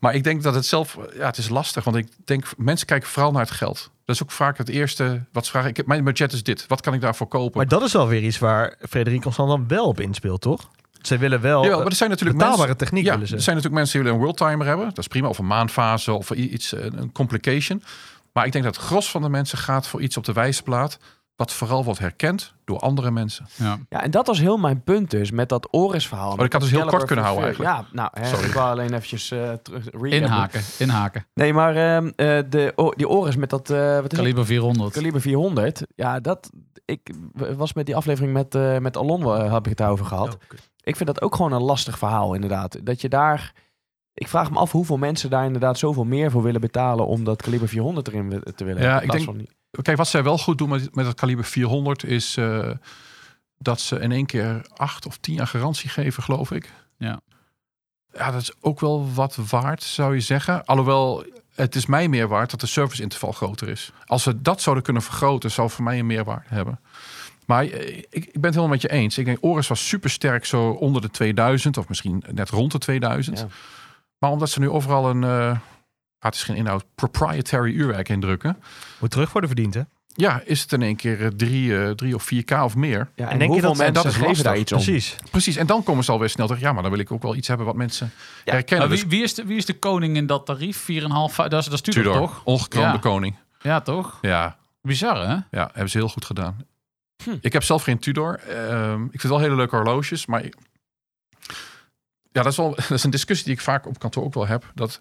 Maar ik denk dat het zelf, eh, ja, het is lastig. Want ik denk, mensen kijken vooral naar het geld. Dat is ook vaak het eerste wat ze vragen. Ik heb, mijn budget is dit. Wat kan ik daarvoor kopen?
Maar dat is wel weer iets waar Frederik Constant dan wel op inspeelt, toch? Ze willen wel
Jawel,
eh,
maar er zijn natuurlijk
betaalbare
mensen-
techniek
ja,
willen ze.
Er zijn natuurlijk mensen die willen een worldtimer hebben. Dat is prima. Of een maanfase of i- iets, eh, een complication. Maar ik denk dat het gros van de mensen gaat voor iets op de wijsplaat. Wat vooral wordt herkend door andere mensen.
Ja.
Ja, en dat was heel mijn punt dus met dat Oris-verhaal.
Maar ik had dus heel
Caliber
kort kunnen houden
Verfeur. Ja, nou, hè,
Sorry.
ik wou alleen eventjes eh terug recappen.
Inhaken, inhaken.
Nee, maar ehm, eh, de, o- die Oris met dat, eh wat is het?
Kaliber 400.
Kaliber 400. Ja, dat, ik w- was met die aflevering met, eh, met Alon, eh, heb ik het over gehad.
Oh, kut.
Ik vind dat ook gewoon een lastig verhaal inderdaad. Dat je daar, ik vraag me af hoeveel mensen daar inderdaad zoveel meer voor willen betalen om dat Kaliber 400 erin wi- te willen.
Ja,
hebben,
ik
in plaats
denk-
van die-
Kijk, wat zij wel goed doen met, met dat kaliber 400 is eh, dat ze in één keer acht of tien jaar garantie geven, geloof ik.
Ja.
Ja, dat is ook wel wat waard, zou je zeggen. Alhoewel, het is mij meer waard dat de serviceinterval groter is. Als we dat zouden kunnen vergroten, zou voor mij een meerwaarde hebben. Maar eh, ik, ik ben het helemaal met je eens. Ik denk, Oris was supersterk zo onder de 2000 of misschien net rond de 2000.
Ja.
Maar omdat ze nu overal een, eh ah, het is geen inhoud, proprietary uurwerk indrukken.
Moet terug worden verdiend, hè?
Ja, is het in één keer eh, drie, eh, drie of 4K of meer.
ja, en,
denk je dat-
hoeveel mensen
en dat is
geven
lastig.
daar iets om?
Precies.
Precies, en dan komen ze alweer snel terug. Ja, maar dan wil ik ook wel iets hebben wat mensen herkennen.
Maar Nou, wie, wie, is de, wie is de koning in dat tarief? 4,5, dat is, dat is
Dus
Tudor,
Tudor,
toch?
ongekroonde
Ja.
koning.
Ja, toch?
Ja,
Bizar, hè?
ja, hebben ze heel goed gedaan.
Hm.
Ik heb zelf geen Tudor. Ehm, ik vind wel hele leuke horloges, maar... ik- Ja, dat is, wel, dat is een discussie die ik vaak op kantoor ook wel heb. Dat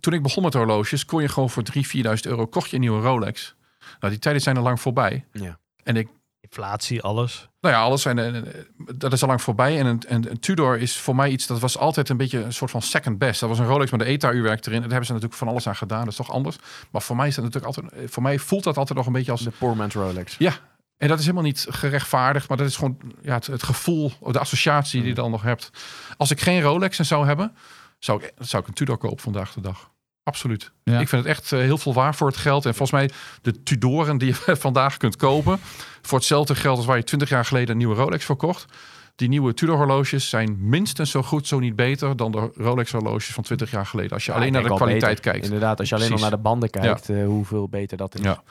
toen ik begon met horloges, kon je gewoon voor 3.000, 4.000 euro kocht je een nieuwe Rolex. Nou, die tijden zijn al lang voorbij.
Ja.
En ik
Inflatie, alles.
Nou ja, alles. En, en- en dat is al lang voorbij. En een, een, een Tudor is voor mij iets dat was altijd een beetje een soort van second best. Dat was een Rolex met de ETA-uurwerk erin. En daar hebben ze natuurlijk van alles aan gedaan. Dat is toch anders. Maar voor mij is dat natuurlijk altijd. Voor mij voelt dat altijd nog een beetje als.
De poor man's Rolex.
Ja. En dat is helemaal niet gerechtvaardigd. Maar dat is gewoon ja, het, het gevoel, of de associatie
Mm.
die je dan nog hebt. Als ik geen Rolex zou hebben, zou ik, zou ik een Tudor kopen vandaag de dag. Absoluut.
Ja.
Ik vind het echt eh, heel veel waar voor het geld. En volgens mij de Tudoren die je vandaag kunt kopen... voor hetzelfde geld als waar je 20 jaar geleden een nieuwe Rolex voor kocht... die nieuwe Tudor horloges zijn minstens zo goed, zo niet beter... dan de Rolex horloges van 20 jaar geleden. Als je alleen
Ja,
naar
Ah,
de
ik denk wel
kwaliteit
beter.
kijkt.
Inderdaad, als je alleen al
Precies.
naar de banden kijkt, eh, hoeveel beter dat is.
Ja.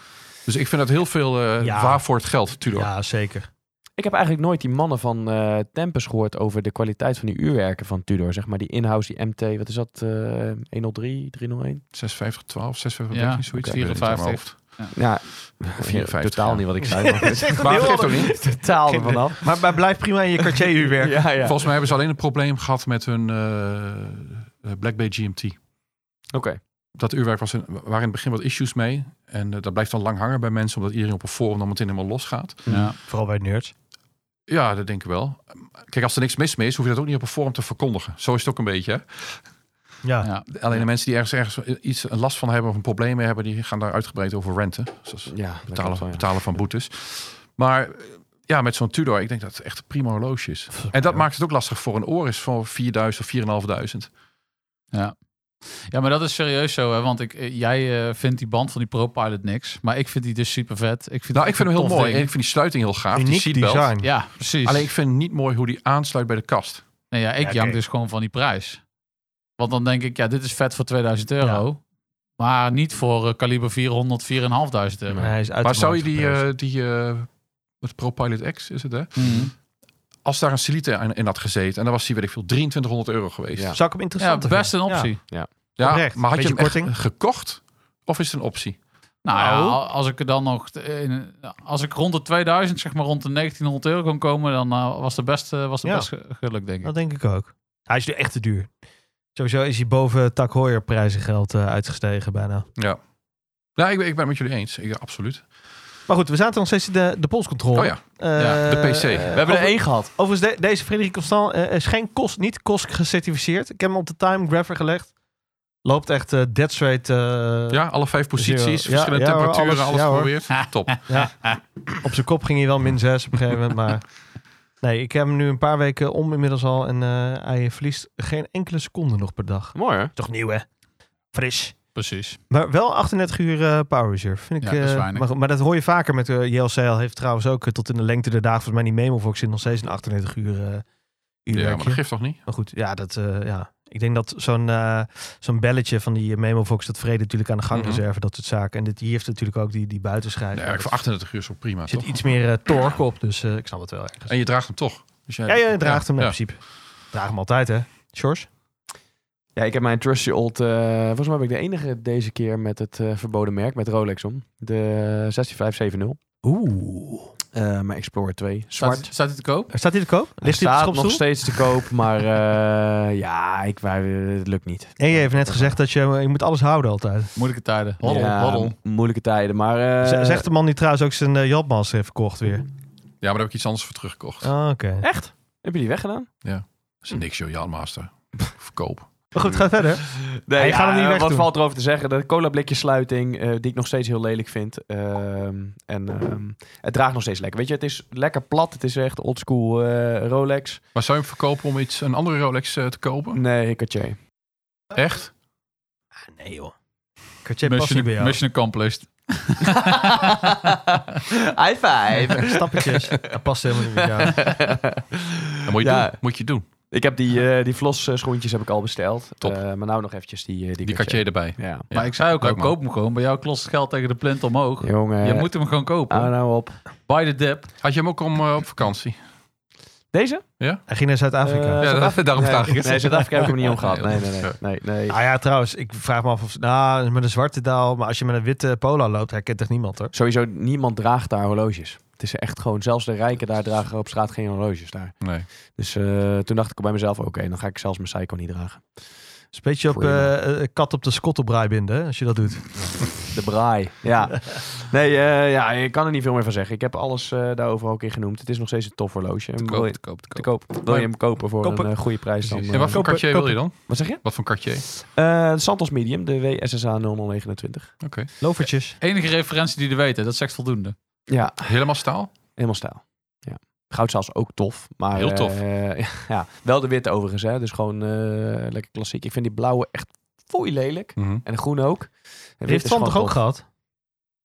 Dus ik vind dat heel veel eh,
Ja.
waar voor het geld, Tudor.
Ja, zeker.
Ik heb eigenlijk nooit die mannen van eh Tempus gehoord over de kwaliteit van die uurwerken van Tudor. Zeg maar die in-house, die MT, wat is dat? eh 103, 301?
650, 12, 650, 13,
Ja,
zoiets.
oké.
Ik weet het niet uit mijn
54.
hoofd.
Ja,
54,
totaal
ja.
niet wat ik zei. Maar goed.
Maar het geeft ook niet.
totaal er vanaf.
Maar, maar blijf prima in je Cartier-uurwerk.
Ja, ja. Oké.
Volgens mij hebben ze alleen een probleem gehad met hun eh, eh, Black Bay GMT. Dat uurwerk was een, waren in het begin wat issues mee. En eh, dat blijft dan lang hangen bij mensen, omdat iedereen op een forum dan meteen helemaal losgaat.
Ja.
Vooral bij nerds.
Ja, dat denk ik wel. Kijk, als er niks mis mee is, hoef je dat ook niet op een forum te verkondigen. Zo is het ook een beetje. hè.
Ja.
Ja.
Alleen de mensen die ergens, ergens iets last van hebben of een probleem mee hebben, die gaan daar uitgebreid over Dus renten. Zoals
Ja,
betalen,
dat klopt wel, ja.
betalen van boetes. Maar eh, ja, met zo'n Tudor, ik denk dat het echt een prima horloge is. En dat maakt het ook lastig voor een oor is van 4000 of 4.500.
Ja, maar dat is serieus zo, hè? want ik, eh, jij eh, vindt die band van die ProPilot niks. Maar ik vind die dus super vet. Ik vind
Nou, ik
het
vind hem
een
heel
tof
mooi. En ik
ding.
vind die sluiting heel gaaf. die
Uniek
seatbelt.
design.
Ja, precies.
Alleen ik vind niet mooi hoe die aansluit bij de kast.
nee, ja, ik
Ja,
jank
oké.
dus gewoon van die prijs. Want dan denk ik, ja, dit is vet voor 2000 euro. Maar niet voor eh, kaliber 400, 4.500 euro.
Hij is uit
maar
de
zou je
markt
die,
geprijsd.
eh, die eh, wat ProPilot X is het hè?
Mhm.
Als daar een Celita in, in had gezeten en dan was die, weet ik veel, 2300 euro geweest.
Ja.
Zou ik hem
Ja,
interessant
best een
vinden?
optie.
Ja,
Oprecht.
maar had je
Beetje
hem echt
korting.
gekocht of is het een optie?
Nou ja,
Nou.
al- als ik er dan nog... t- in- als ik rond de 2000, zeg maar rond de 1900 euro kon komen... dan eh, was de best, eh, was de
Ja.
best ge- geluk, denk
Ja,
ik.
dat denk ik ook. Hij is nu echt te duur. Sowieso is hij boven Tak Heuer prijzengeld eh, uitgestegen bijna.
Ja, ik ben, ik ben het met jullie eens. Ik, absoluut.
Maar goed, we zaten nog steeds in de, de polscontrole.
Oh ja, Ja, de PC. We
We hebben er één gehad.
Eh, Overigens, de- deze Frederik Constant eh, is geen kost, niet kost gecertificeerd. Ik heb hem op de time grapher gelegd. Loopt echt eh, dead straight. eh,
ja, alle vijf posities,
Ja,
verschillende
Dus ja hoor,
temperaturen,
alles,
alles,
ja hoor.
geprobeerd. Top.
Op zijn kop ging hij wel min 6 op een gegeven moment. Maar nee, ik heb hem nu een paar weken om inmiddels al. En eh, hij verliest geen enkele seconde nog per dag.
Mooi hè?
Toch nieuw, hè? Fris.
Precies.
Maar wel 38 uur eh, power reserve. Vind ik,
Ja, dat is
eh,
weinig.
maar, goed, maar dat hoor je vaker met eh, JLCL. Heeft trouwens ook eh, tot in de lengte der dagen. Volgens mij die Memovox zit nog steeds een 38 uur eh
Ja, maar
uurwerkje.
dat geeft toch niet?
Maar goed, ja, dat, eh, ja. ik denk dat zo'n eh, zo'n belletje van die Memovox... dat vrede natuurlijk aan de gangreserve, dat soort zaken. En dit, hier heeft natuurlijk ook die, die buitenschijf.
Ja, eigenlijk voor 38 uur is ook prima,
er zit
toch?
iets meer eh, torque op, dus eh, ik snap het wel ergens.
En je draagt hem toch? Dus jij,
Ja, ja, je draagt hem
ja.
in principe. Draag hem altijd, hè? Sjors?
Ja, ik heb mijn trusty old. eh, volgens mij ben ik de enige deze keer met het eh, verboden merk, met Rolex om. De 16570.
Oeh.
Eh mijn Explorer 2.
Staat,
Zwart.
staat hij te koop?
Staat hij te koop?
Hij
Ligt hij op de
staat nog
schopstoel?
steeds te koop, maar eh, ja, ik, wij, eh, het lukt niet.
En je heeft net gezegd dat je, eh, je moet alles houden altijd.
Moeilijke tijden. Hoddel,
Ja,
hoddel.
Moeilijke tijden, maar... eh,
Z- zegt de man die trouwens ook zijn uh, Jatmans heeft verkocht weer.
Ja, maar daar heb ik iets anders voor teruggekocht.
Ah, Oké.
Echt? Heb je die weggedaan?
Dat is niks, joh, Jan Master. Verkoop.
Maar goed, ga verder.
Nee,
je gaat hem niet
eh, Wat
wegdoen.
valt erover te zeggen? De cola blikje sluiting, eh, die ik nog steeds heel lelijk vind. Ehm, en ehm, het draagt nog steeds lekker. Weet je, het is lekker plat. Het is echt oldschool eh Rolex.
Maar zou je hem verkopen om iets, een andere Rolex eh, te kopen?
Nee, Cartier.
Echt?
Nee joh. Cartier past niet bij
Mission,
jou.
mission accomplished.
High five.
Stappetjes. Dat past helemaal niet bij jou.
Dat moet je
Ja.
doen. Moet je doen.
Ik heb die, eh, die Vlos eh, schoentjes heb ik al besteld.
Top.
Eh, maar nou nog eventjes die, eh, die,
Die Cartier erbij.
Ja.
Ja,
maar ik zei ook al,
leuk, man.
koop hem gewoon. Bij jou klost het geld tegen de plint omhoog.
Jongen.
je moet hem gewoon kopen.
Ah.
Hou nou op.
Buy the dip.
Had je hem ook om, eh, op vakantie?
Deze?
Hij ging naar Zuid-Afrika.
Eh,
ja,
Zuid-Afrika-
dat- daarom
nee,
vraag ik het.
Nee, Zuid-Afrika heb ik hem niet omgehad.
Nee,
Nee, nee, nee. nee, nee.
ah ja, trouwens, ik vraag me af of... Nou, met een zwarte daal, maar als je met een witte polo loopt, herkent echt niemand hoor.
Sowieso, niemand draagt daar horloges. Het is echt gewoon, zelfs de rijken daar dragen op straat geen horloges daar.
Nee.
Dus eh, toen dacht ik bij mezelf, oké, dan ga ik zelfs mijn Seiko niet dragen.
Het is een beetje op eh, eh, kat op de schot op braai binden, hè, als je dat doet.
De braai. Ja. Nee, eh, ja, ik kan er niet veel meer van zeggen. Ik heb alles eh, daarover ook in genoemd. Het is nog steeds een tof horloge. En
Te
wil
koop,
je-
te koop, te
te
koop.
koop. Wil je hem kopen voor
Kopen.
een eh, goede prijs dan?
En wat
eh,
voor Cartier wil je dan?
Wat zeg je?
Wat voor Cartier?
Eh, de Santos Medium, de WSSA 0029.
Lovertjes.
Enige referentie die er weten, dat zegt voldoende.
Ja,
Helemaal staal?
helemaal stijl. Ja. Goud zelfs ook tof. Maar,
Heel tof.
eh, ja, wel de witte overigens. Hè. Dus gewoon eh, lekker klassiek. Ik vind die blauwe echt fooi lelijk.
Mhm.
En de groene ook. En wit
Die heeft
is
Van
gewoon
toch ook
tof.
gehad?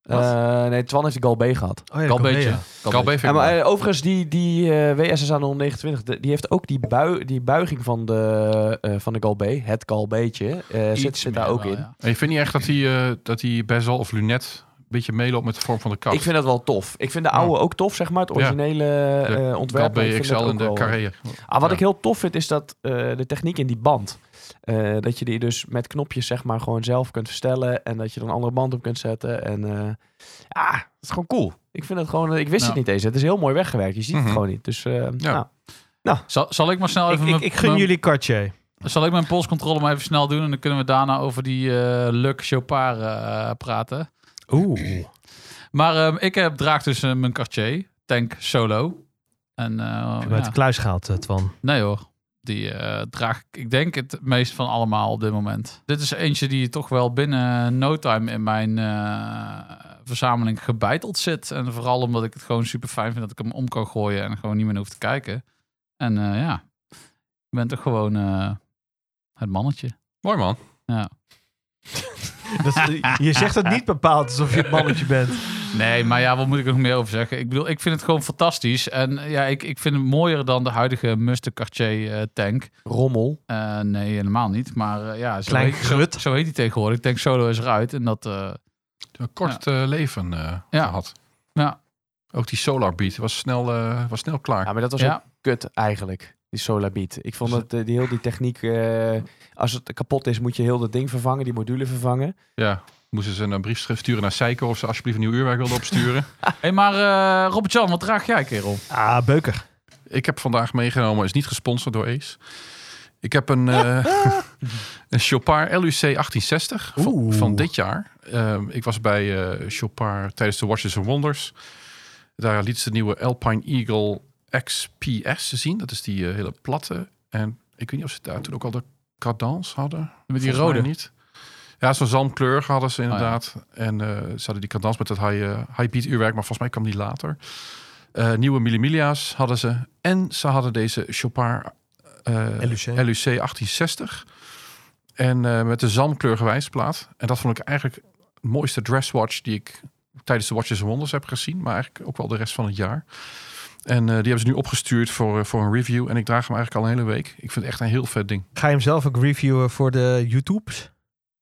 Eh, nee, Twan heeft de Galbé gehad.
Oh, ja,
Kan
Korea.
beetje.
Calbe vind ik
Ja, maar
mooi.
eh, overigens, die, die eh, WSSA 029, de- die heeft ook die, bui, die buiging van de, eh van de Galbé, het Galbeetje, eh zit,
Iets
zit daar
meer
ook
wel,
in.
ja.
En je vindt niet echt dat die, eh dat die bezel of lunet een beetje meeloopt met de vorm van de kast?
Ik vind dat wel tof. Ik vind de oude ook tof, zeg maar, het originele eh ontwerp. maar ik
Calbe
vind
XL
het ook
en de
wel-
carré.
Ah, wat
Ja.
ik heel tof vind, is dat eh, de techniek in die band. Eh, dat je die dus met knopjes zeg maar gewoon zelf kunt verstellen. En dat je er een andere band op kunt zetten. En eh, ja, het is gewoon cool. Ik vind het gewoon, eh, ik wist
Ja.
het niet eens. Het is heel mooi weggewerkt. Je ziet
Mhm.
het gewoon niet. Dus eh,
Ja.
nou,
Zal, zal ik maar snel
Ik,
even...
ik,
mijn-
ik gun
mijn-
jullie Cartier.
Zal ik mijn polscontrole maar even snel doen en dan kunnen we daarna over die eh Luc Chopard eh, praten.
Oeh.
Maar ehm, ik heb, draag dus eh, mijn Cartier Tank Solo. En, eh,
Heb je hem
Oh, ja.
uit de kluis gehaald, eh, Twan?
Nee hoor, Die eh, draag ik, ik denk, het meest van allemaal op dit moment. Dit is eentje die toch wel binnen no time in mijn eh, verzameling gebeiteld zit. En vooral omdat ik het gewoon super fijn vind dat ik hem om kan gooien en gewoon niet meer hoef te kijken. En eh, ja, ik ben toch gewoon eh, het mannetje.
Mooi man.
Ja.
Dat, je zegt het niet bepaald alsof je het mannetje bent.
Nee, maar ja, wat moet ik er nog meer over zeggen? Ik bedoel, ik vind het gewoon fantastisch. En eh, ja, ik, ik vind het mooier dan de huidige Mustang Cartier eh, tank.
Rommel.
Eh, nee, helemaal niet. Maar eh, ja, zo,
Klein
heet, zo, zo heet die tegenwoordig. Ik denk Solo is eruit. En dat, eh,
Een kort eh, leven eh,
Ja.
gehad.
Ja.
Ook die Solar Beat was snel, eh, was snel klaar.
Ja, maar dat was
Ja.
ook kut eigenlijk, die Solarbeat. Ik vond
Dus-
dat eh, die heel die techniek... eh, als het kapot is, moet je heel dat ding vervangen, die module vervangen.
Ja. Moesten ze een brief sturen naar Seiko of ze alsjeblieft een nieuw uurwerk wilden opsturen.
hey, maar eh, Robert-Jan, wat draag jij, kerel?
Ah, beuker.
ik heb vandaag meegenomen, is niet gesponsord door Ace. Ik heb een, eh een Chopard LUC 1860 van,
Oeh.
van dit jaar. Ehm, ik was bij eh Chopard tijdens de Watches and Wonders. Daar liet ze de nieuwe Alpine Eagle XPS zien. Dat is die eh, hele platte. En ik weet niet of ze daar toen ook al de cadans hadden.
Met die
Volgens mij
rode.
niet. Oh, Ja, zo'n zalmkleur hadden ze
ja.
inderdaad. En eh, ze hadden die cadans met het high, eh, high beat uurwerk, maar volgens mij kwam die later. Eh, nieuwe millimilia's hadden ze. En ze hadden deze Chopard eh,
LUC.
LUC 1860. En eh, met de zalmkleur gewijsplaat. En dat vond ik eigenlijk het mooiste dresswatch die ik tijdens de Watches and Wonders heb gezien. Maar eigenlijk ook wel de rest van het jaar. En eh, die hebben ze nu opgestuurd voor, eh, voor een review. En ik draag hem eigenlijk al een hele week. Ik vind het echt een heel vet ding.
Ga je hem zelf ook reviewen voor de YouTubes?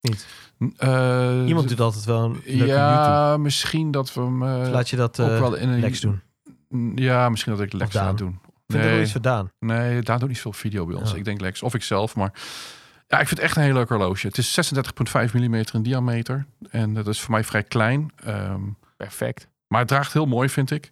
N- eh,
Iemand doet altijd wel een leuke YouTube.
ja, misschien dat we hem eh,
Dus laat je dat eh
ook wel in een
Lex doen.
Ja, misschien dat ik Lex
Daan.
ga doen.
Vind er wel
Nee.
iets gedaan.
Nee, daar doet niet veel video bij ons.
Ja.
Ik denk Lex of ik zelf, maar ja, ik vind het echt een heel leuk horloge. Het is 36,5 mm in diameter en dat is voor mij vrij klein, Ehm,
Perfect.
maar het draagt heel mooi, vind ik.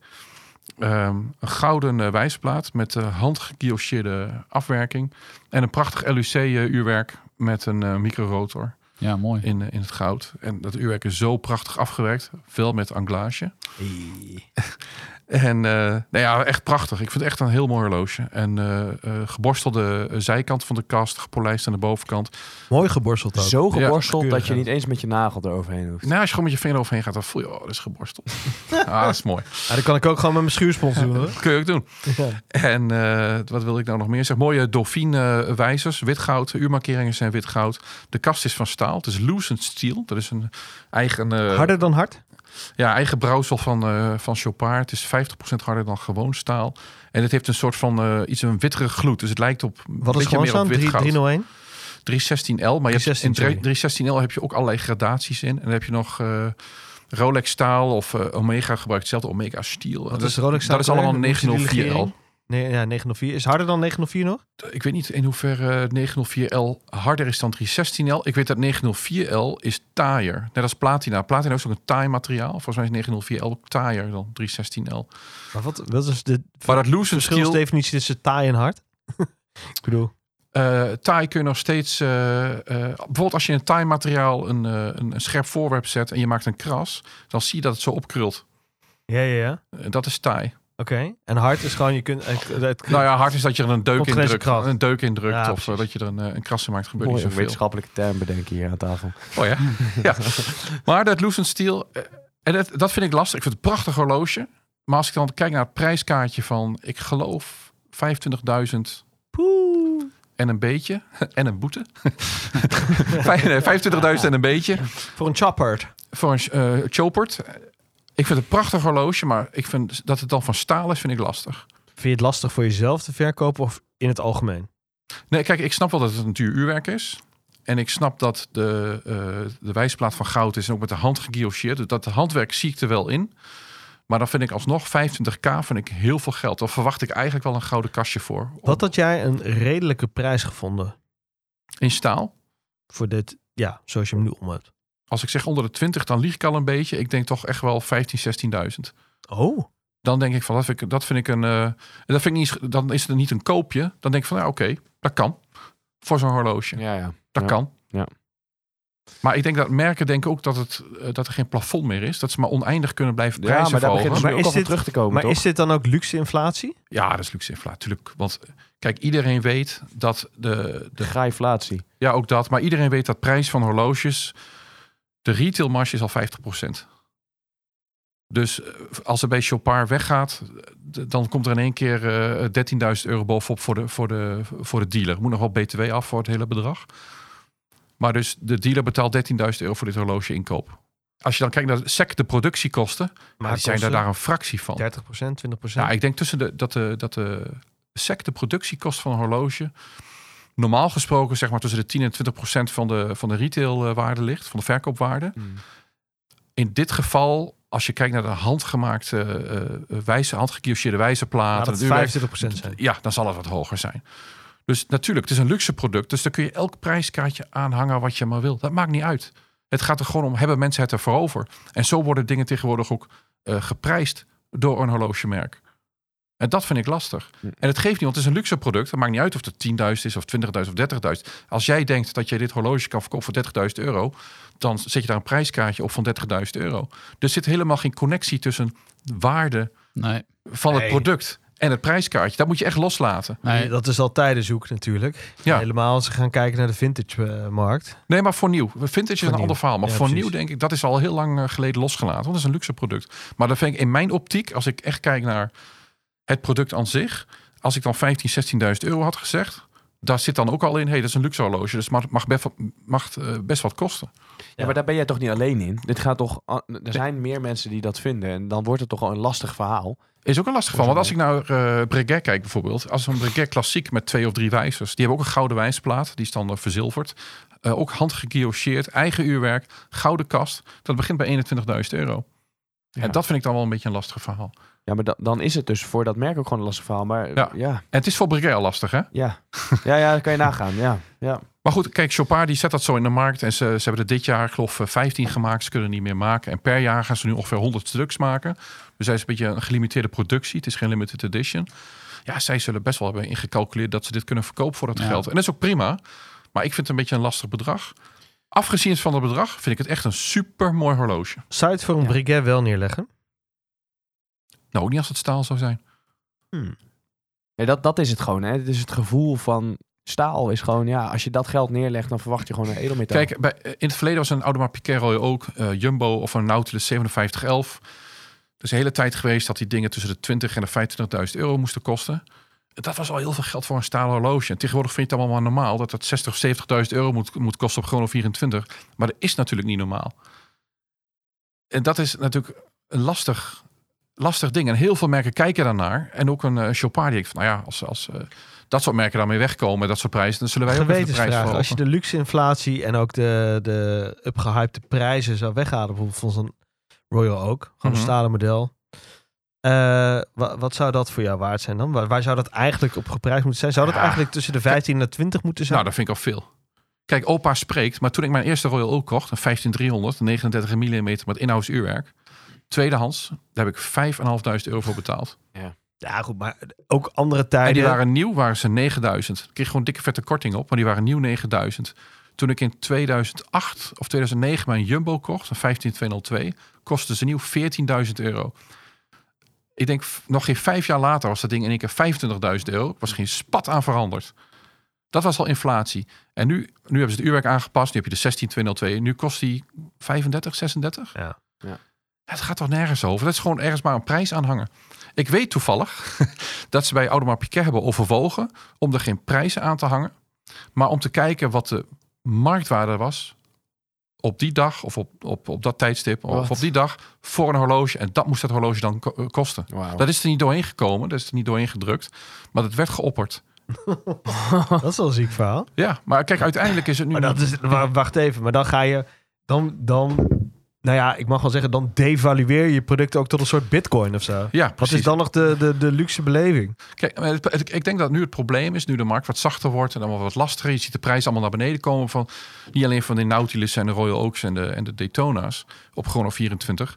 Ehm, een gouden eh, wijsplaat met eh handgekiocheerde afwerking en een prachtig LUC eh, uurwerk met een eh, microrotor
Ja, mooi.
in, eh, in het goud. En dat uurwerk is zo prachtig afgewerkt, veel met anglage. En eh, nou ja, echt prachtig. Ik vind het echt een heel mooi horloge. En eh, eh, geborstelde zijkant van de kast, gepolijst aan de bovenkant.
Mooi geborsteld ook.
Zo geborsteld
keurig,
dat je
ja.
niet eens met je nagel eroverheen hoeft.
Nou, als je gewoon met je vinger overheen gaat, dan voel je, oh, dat is geborsteld. ah, dat is mooi.
Ja, dat kan ik ook gewoon met mijn schuurspons doen hoor.
Dat kun je ook doen.
Ja.
En eh, wat wil ik nou nog meer zeggen? Mooie dolfine eh, wijzers, wit goud. De uurmarkeringen zijn wit goud. De kast is van staal. Het is lucent steel. Dat is een eigen... eh,
Harder dan hard?
Ja, eigen brouwsel van, eh, van Chopard. Het is 50% harder dan gewoon staal. En het heeft een soort van eh, iets een wittere gloed. Dus het lijkt op een
Wat is
beetje
gewoon
meer op
staan?
wit
3-
goud.
301?
316L. Maar je hebt, in
316, sorry.
316L heb je ook allerlei gradaties in. En dan heb je nog eh, Rolex staal of eh, Omega gebruikt. Hetzelfde Omega stiel.
Wat
dat,
is Rolex
dat is
Sauer?
allemaal
Dan moeten die
904L.
legering. Nee, ja, 904. Is harder dan 904 nog?
Ik weet niet in hoeverre eh, 904L harder is dan 316L. Ik weet dat 904L is taaier. Net als platina. Platina is ook een taai materiaal. Volgens mij is 904L ook taaier dan 316L.
Maar wat, wat is de
Maar dat lucent steel...
verschilsdefinitie tussen taai en hard? ik bedoel,
eh taai kun je nog steeds... eh, eh, bijvoorbeeld als je in taai materiaal een, eh, een, een scherp voorwerp zet... en je maakt een kras, dan zie je dat het zo opkrult.
ja, ja, ja.
Eh, dat is taai.
Oké. En hard is gewoon, je kunt... Het, het-
Nou ja, hard is dat je er een deuk in
Opgrenzen
drukt.
kras.
Een deuk in drukt
Ja,
of eh,
precies.
dat je er een, eh, een kras in maakt. Gebeurt
Mooi,
niet
een
zoveel.
wetenschappelijke term bedenken hier aan tafel.
Oh ja. ja. Maar dat Lucent Steel, eh, en dat, dat vind ik lastig. Ik vind het een prachtig horloge. Maar als ik dan kijk naar het prijskaartje van, ik geloof, 25.000 en een beetje. En een boete. Vij- nee, 25.000 en een beetje.
voor een chopper.
Voor een eh chopert. Ik vind het een prachtig horloge, maar ik vind dat het dan van staal is, vind ik lastig.
Vind je het lastig voor jezelf te verkopen of in het algemeen?
Nee, kijk, ik snap wel dat het een duur uurwerk is. En ik snap dat de, eh, de wijsplaat van goud is en ook met de hand geguillocheerd. Dus Dat handwerk zie ik er wel in. Maar dan vind ik alsnog 25k vind ik heel veel geld. Dan verwacht ik eigenlijk wel een gouden kastje voor.
Wat had jij een redelijke prijs gevonden
In staal.
voor dit, ja, zoals je hem nu om hebt?
Als ik zeg onder de 20, dan lieg ik al een beetje. Ik denk toch echt wel 15, 16.000.
Oh,
Dan denk ik van, dat vind ik, dat vind ik een... eh, en dat vind ik niet, dan is het niet een koopje. Dan denk ik van, ja, oké, dat kan. Voor zo'n horloge.
Ja, ja.
Dat
Ja.
kan.
Ja.
Maar ik denk dat merken denken ook dat, het, eh, dat er geen plafond meer is. Dat ze maar oneindig kunnen blijven
Ja,
prijzen
maar daar
verhogen.
begint
Maar
het nu
is
ook al van
dit-
terug te komen,
maar
toch?
is dit dan ook luxe inflatie?
Ja, dat is luxe inflatie. Tuurlijk, want Kijk, iedereen weet dat de,
De
de
graaiflatie.
ja, ook dat. Maar iedereen weet dat prijs van horloges. De retailmarge is al 50%. Dus eh, als er bij Chopard weggaat, d- dan komt er in één keer eh 13.000 euro bovenop voor de, voor, de, voor de dealer. Moet nog wel BTW af voor het hele bedrag. Maar dus de dealer betaalt 13.000 euro voor dit horloge inkoop. Als je dan kijkt naar SEC, de productiekosten, maar die zijn daar, daar een fractie van.
30 20
Ja, Nou, ik denk tussen de, dat, de, dat de SEC, de productiekost van een horloge, normaal gesproken zeg maar tussen de 10 en 20 procent van de, van de retailwaarde ligt, van de verkoopwaarde. In dit geval, als je kijkt naar de handgemaakte, eh wijze, handgekiosjeerde
Laat
wijzerplaten,
het
het uurwerk,
25 zijn.
ja, dan zal het wat hoger zijn. Dus natuurlijk, het is een luxe product. Dus dan kun je elk prijskaartje aanhangen wat je maar wil. Dat maakt niet uit. Het gaat er gewoon om, hebben mensen het ervoor over? En zo worden dingen tegenwoordig ook eh, geprijsd door een horlogemerk. En dat vind ik lastig.
Hm.
En het geeft niet, want het is een luxe product. Het maakt niet uit of het 10.000 is of 20.000 of 30.000. Als jij denkt dat je dit horloge kan verkopen voor 30.000 euro... dan zet je daar een prijskaartje op van 30.000 euro. Er zit helemaal geen connectie tussen waarde
Nee,
van
Nee.
het product... en het prijskaartje. Dat moet je echt loslaten.
nee.
Dat is al tijdenzoek natuurlijk.
Ja.
Helemaal als ze gaan kijken naar de vintage eh, markt.
Nee, maar voor nieuw. Vintage is een
nieuw.
ander verhaal. Maar
Ja,
voor
precies.
nieuw denk ik, dat is al heel lang eh, geleden losgelaten. Want dat is een luxe product. Maar dat vind ik in mijn optiek, als ik echt kijk naar het product aan zich. Als ik dan 15, 16.000 euro had gezegd. Daar zit dan ook al in, hey, dat is een luxe horloge. Dus mag, mag, best, wat- mag eh, best wat kosten.
Ja, maar daar ben jij toch niet alleen in? Dit gaat toch, a- er zijn meer mensen die dat vinden. En dan wordt het toch al een lastig verhaal.
Is ook een lastig geval. Want als ik naar eh Breguet kijk bijvoorbeeld. Als een Breguet klassiek met twee of drie wijzers. Die hebben ook een gouden wijsplaat. Die is dan eh, verzilverd. Eh, ook handgekiosseerd. Eigen uurwerk. Gouden kast. Dat begint bij 21.000 euro.
Ja.
En dat vind ik dan wel een beetje een lastig verhaal.
Ja, maar dan, dan is het dus voor dat merk ook gewoon een lastig verhaal. Maar ja,
Ja.
ja,
En het is voor Breguet al lastig, hè?
ja, ja, dat kan je nagaan. Ja, ja.
Maar goed, kijk, Chopard die zet dat zo in de markt. En ze, ze hebben er dit jaar, geloof ik, 15 gemaakt. Ze kunnen er niet meer maken. En per jaar gaan ze nu ongeveer 100 stuks maken. Dus zij is een beetje een gelimiteerde productie. Het is geen limited edition. Ja, zij zullen best wel hebben ingecalculeerd dat ze dit kunnen verkopen voor dat
Ja.
geld. En dat is ook prima. Maar ik vind het een beetje een lastig bedrag. Afgezien van dat bedrag vind ik het echt een super mooi horloge.
Zou je het voor een
Ja.
briquet wel neerleggen?
Nou, ook niet als het staal zou zijn.
Nee, dat, dat is het gewoon. Hè. Het is het gevoel van staal is gewoon, ja, als je dat geld neerlegt, dan verwacht je gewoon een edelmetaal.
Kijk, bij, eh, in het verleden was een Audemars Piguet Royal ook eh, Jumbo of een Nautilus 5711. Er is een hele tijd geweest dat die dingen tussen de 20 en de 25.000 euro moesten kosten. Dat was al heel veel geld voor een stalen horloge. En tegenwoordig vind je het allemaal maar normaal dat dat 60 of 70.000 euro moet, moet kosten op Chrono 24. Maar dat is natuurlijk niet normaal. En dat is natuurlijk een lastig, lastig ding. En heel veel merken kijken daarnaar. En ook een eh, Chopard die denkt van, nou ja, als, als eh, dat soort merken daarmee wegkomen, dat soort prijzen, dan zullen wij ook even de prijs
Gewetensvraag.
verhogen.
Als je de luxe inflatie en ook de, de upgehypte prijzen zou weghalen, bijvoorbeeld van zo'n Royal Oak, gewoon een
Mhm.
stalen model. eh, wa- wat zou dat voor jou waard zijn dan? Waar, waar zou dat eigenlijk op geprijsd moeten zijn? Zou dat
Ja.
eigenlijk tussen de 15 en de 20 moeten zijn?
Nou, dat vind ik al veel. Kijk, opa spreekt, maar toen ik mijn eerste Royal Oak kocht, een 15300, 39 mm met inhoudsuurwerk, tweedehands, daar heb ik 5.500 euro voor betaald.
ja, goed, maar ook andere
Nou. En
tijden.
die waren nieuw, waren ze 9000. Ik kreeg gewoon dikke vette korting op, maar die waren nieuw 9000. Toen ik in 2008 of 2009 mijn Jumbo kocht, een 15202, kostte ze nieuw 14.000 euro. Ik denk f- nog geen vijf jaar later was dat ding in één keer 25.000 euro. Er was geen spat aan veranderd. Dat was al inflatie. En nu, nu hebben ze het uurwerk aangepast. Nu heb je de 16202. Nu kost die 35, 36.
Ja.
Ja.
Het gaat toch nergens over. Dat is gewoon ergens maar een prijs aan hangen. Ik weet toevallig dat ze bij Audemars Piguet hebben overwogen om er geen prijzen aan te hangen, maar om te kijken wat de marktwaarde was op die dag of op, op, op dat tijdstip
Wat?
of op die dag voor een horloge. En dat moest dat horloge dan ko- eh, kosten.
Wauw.
Dat is er niet doorheen gekomen, dat is er niet doorheen gedrukt, maar dat werd geopperd.
dat is wel een ziek verhaal.
Ja, maar kijk, uiteindelijk is het nu.
Maar dat is, wa- wacht even, maar dan ga je, dan, dan, nou ja, ik mag wel zeggen, dan devalueer je product ook tot een soort bitcoin of zo.
ja,
Wat
precies.
is dan nog de, de, de luxe beleving?
Kijk, maar het- het- ik denk dat nu het probleem is, nu de markt wat zachter wordt en allemaal wat lastiger. Je ziet de prijzen allemaal naar beneden komen van niet alleen van de Nautilus en de Royal Oaks en de, en de Daytona's op Chrono 24,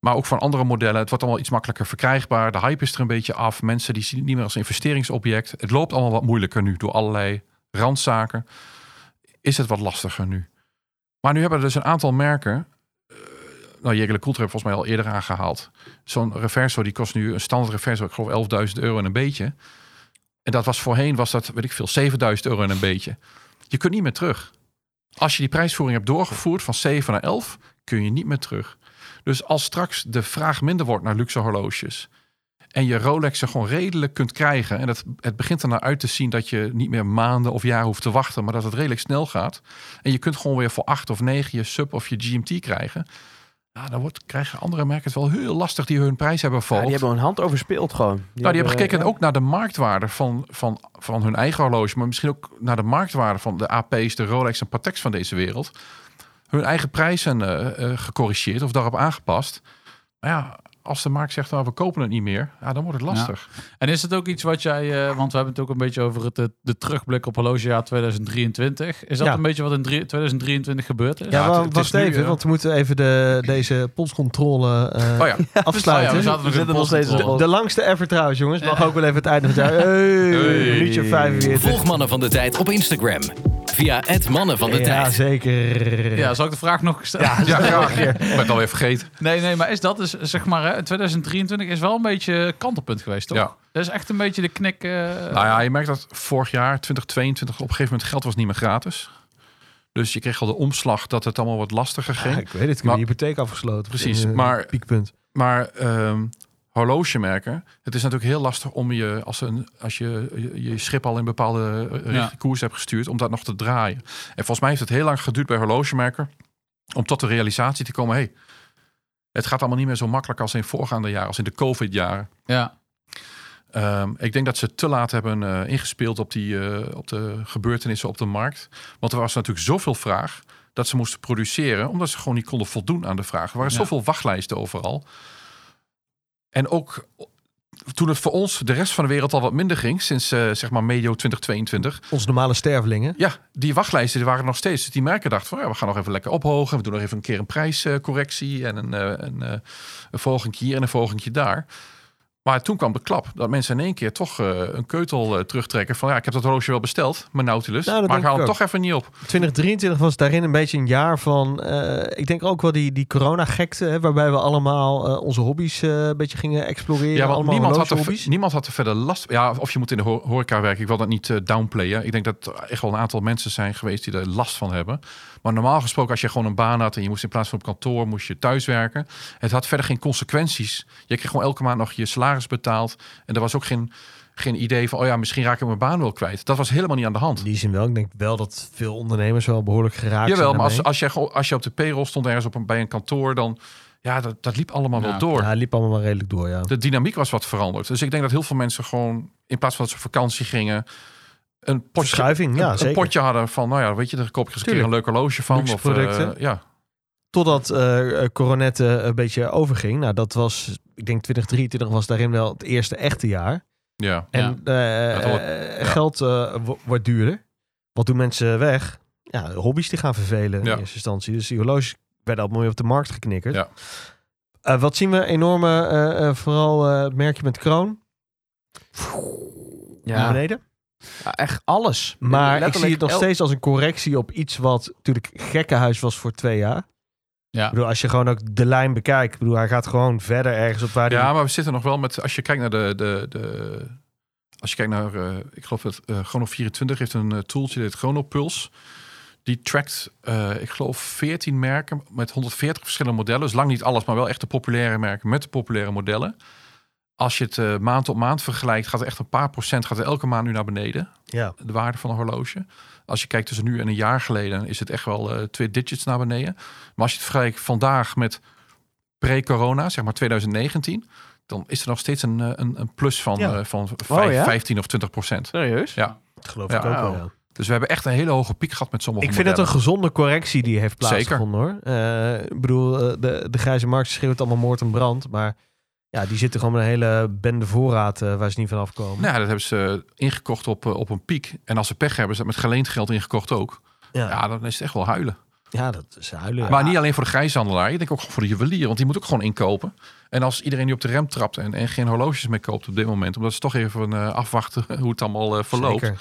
maar ook van andere modellen. Het wordt allemaal iets makkelijker verkrijgbaar. De hype is er een beetje af. Mensen die zien het niet meer als investeringsobject. Het loopt allemaal wat moeilijker nu door allerlei randzaken. Is het wat lastiger nu? Maar nu hebben er dus een aantal merken. eh, nou, Jegele Coulter heeft volgens mij al eerder aangehaald zo'n reverso die kost nu een standaard reverso, ik geloof 11.000 euro en een beetje. En dat was voorheen, was dat, weet ik veel, 7000 euro en een beetje. Je kunt niet meer terug. Als je die prijsvoering hebt doorgevoerd van 7 naar 11, kun je niet meer terug. Dus als straks de vraag minder wordt naar luxe horloges en je Rolex er gewoon redelijk kunt krijgen en het, het begint er naar uit te zien dat je niet meer maanden of jaren hoeft te wachten, maar dat het redelijk snel gaat en je kunt gewoon weer voor 8 of 9 je sub of je GMT krijgen, ja, dan wordt, krijgen andere merken het wel heel lastig die hun prijs hebben
Ja,
verhoogd.
die hebben hun hand overspeeld gewoon. Die
Nou, die hebben gekeken
ja.
ook naar de marktwaarde van, van, van hun eigen horloge, maar misschien ook naar de marktwaarde van de AP's, de Rolex en Patex van deze wereld. Hun eigen prijzen eh, eh, gecorrigeerd of daarop aangepast. Maar ja, als de markt zegt, nou, we kopen het niet meer, ja, dan wordt het lastig.
En is het ook iets wat jij, eh, want we hebben het ook een beetje over het, de, de terugblik op horlogejaar 2023. Is dat
Ja.
een beetje wat in drie- 2023 gebeurd is?
Ja,
het-
wa-
het is
wacht
nu,
even,
eh,
want we moeten even de, deze polscontrole eh,
Oh ja,
Oh ja,
afsluiten.
we zaten nog in de
zitten nog steeds in de
postcontrole.
de langste ever trouwens, jongens. Mag ook wel even het einde van het jaar. Hey,
Hey.
minuutje 45.
Volg Mannen van de Tijd op Instagram. Via het Mannen van de
Ja,
Tijd.
zeker.
Ja, zal ik de vraag nog stellen?
ja, graag. Ik ben het alweer vergeten.
Nee, nee, maar is dat dus, zeg maar, hè, 2023 is wel een beetje kantelpunt geweest, toch?
Ja.
Dat is echt een beetje de knik. eh,
Nou ja, je merkt dat vorig jaar, 2022, op een gegeven moment geld was niet meer gratis. Dus je kreeg al de omslag dat het allemaal wat lastiger ging.
Ja, ik weet het, ik heb
Maar-
de hypotheek afgesloten.
Precies,
Eh,
maar-
Piekpunt.
Maar ehm horlogemerken, het is natuurlijk heel lastig om je, als, een, als je, je je schip al in een bepaalde eh,
Ja.
richting koers hebt gestuurd, om dat nog te draaien. En volgens mij heeft het heel lang geduurd bij horlogemerken om tot de realisatie te komen, hey, het gaat allemaal niet meer zo makkelijk als in voorgaande jaren, als in de COVID-jaren.
ja.
Ehm, ik denk dat ze te laat hebben eh, ingespeeld op, die, eh, op de gebeurtenissen op de markt. Want er was natuurlijk zoveel vraag dat ze moesten produceren, omdat ze gewoon niet konden voldoen aan de vraag. Er waren
Ja.
zoveel wachtlijsten overal. En ook eh, toen het voor ons, de rest van de wereld, al wat minder ging, sinds eh, zeg maar medio 2022.
Onze normale stervelingen.
Ja, die wachtlijsten die waren er nog steeds. Dus die merken dachten van, ja, we gaan nog even lekker ophogen. We doen nog even een keer een prijscorrectie en een, eh een, eh, een volgentje hier en een volgentje daar. Maar toen kwam de klap dat mensen in één keer toch eh, een keutel eh, terugtrekken. Van ja, ik heb dat horloge wel besteld, mijn Nautilus.
Nou, dat
maar
denk
ik haal
ik
hem toch even niet op.
2023 was daarin een beetje een jaar van... eh, ik denk ook wel die, die corona-gekte, hè, waarbij we allemaal eh, onze hobby's eh, een beetje gingen exploreren.
Ja, want
allemaal
niemand had, er,
horlogehobby's.
niemand had er verder last Ja, of je moet in de ho- horeca werken. Ik wil dat niet eh, downplayen. Ik denk dat er echt wel een aantal mensen zijn geweest die er last van hebben. Maar normaal gesproken, als je gewoon een baan had en je moest in plaats van op kantoor, moest je thuis werken. Het had verder geen consequenties. Je kreeg gewoon elke maand nog je salaris betaald. En er was ook geen, geen idee van, oh ja, misschien raak ik mijn baan wel kwijt. Dat was helemaal niet aan de hand.
In die zin wel. Ik denk wel dat veel ondernemers wel behoorlijk geraakt
Jawel,
zijn.
maar als,
daarmee.
als, je, gewoon- als je op de payroll stond ergens op een, bij een kantoor, dan... Ja, dat, dat liep allemaal
Ja.
wel door.
Ja, het liep allemaal wel redelijk door, ja.
de dynamiek was wat veranderd. Dus ik denk dat heel veel mensen gewoon, in plaats van dat ze op vakantie gingen, een potje,
Verschuiving, ja,
een,
zeker.
potje hadden van, nou ja, weet je, daar koop ik eens een keer een leuk horloge van.
Luxe
Of, eh,
producten.
ja.
Totdat eh eh, Coronet eh, een beetje overging. Nou, dat was, ik denk 2023 was daarin wel het eerste echte jaar.
Ja.
En eh,
Dat wordt-
eh, geld eh, wo- wordt duurder. Wat doen mensen weg? Ja, hobby's die gaan vervelen
Ja.
in eerste instantie. Dus die horloges werden al mooi op de markt geknikkerd.
Ja.
Eh, wat zien we? Enorme, eh, eh, vooral eh, het merkje met de kroon naar
Ja.
beneden.
Ja, echt alles.
Maar ik zie
Letterlijk
het nog
el-
steeds als een correctie op iets wat natuurlijk gekkenhuis was voor twee jaar.
Ja.
Ik bedoel, als je gewoon ook de lijn bekijkt. Ik bedoel, hij gaat gewoon verder ergens op waar die...
ja, maar we zitten nog wel met, als je kijkt naar de... de, de als je kijkt naar, eh, ik geloof dat eh Chrono 24 heeft een eh, tooltje, dat heet Chronopulse. Die trackt, eh, ik geloof, 14 merken met 140 verschillende modellen. Dus lang niet alles, maar wel echt de populaire merken met de populaire modellen. Als je het eh, maand op maand vergelijkt, gaat er echt een paar procent, gaat er elke maand nu naar beneden.
Ja.
de waarde van een horloge. Als je kijkt tussen nu en een jaar geleden, is het echt wel eh, twee digits naar beneden. Maar als je het vergelijkt vandaag met pre-corona, zeg maar 2019, dan is er nog steeds een, eh, een, een plus van,
Ja.
eh, van vijf-
ja?
15 of 20 procent.
Serieus?
Ja.
Dat geloof
Ja,
ik ook wel,
oh.
ja.
Dus we hebben echt een hele hoge piek gehad met sommige
Ik vind het een
modellen.
gezonde correctie die heeft plaatsgevonden hoor. Eh, ik bedoel, eh, de, de grijze markt schreeuwt allemaal moord en brand. Maar ja, die zitten gewoon met een hele bende voorraad eh, waar ze niet van afkomen.
Nou, ja, dat hebben ze eh, ingekocht op, eh, op een piek. En als ze pech hebben, is dat met geleend geld ingekocht ook.
ja. Ja.
Ja, dan is het echt wel huilen.
dat is huilen. ja.
Maar niet alleen voor de grijshandelaar. Ik denk ook voor de juwelier, want die moet ook gewoon inkopen. En als iedereen die op de rem trapt en, en geen horloges meer koopt op dit moment, omdat ze toch even eh, afwachten hoe het allemaal eh, verloopt,
Zeker.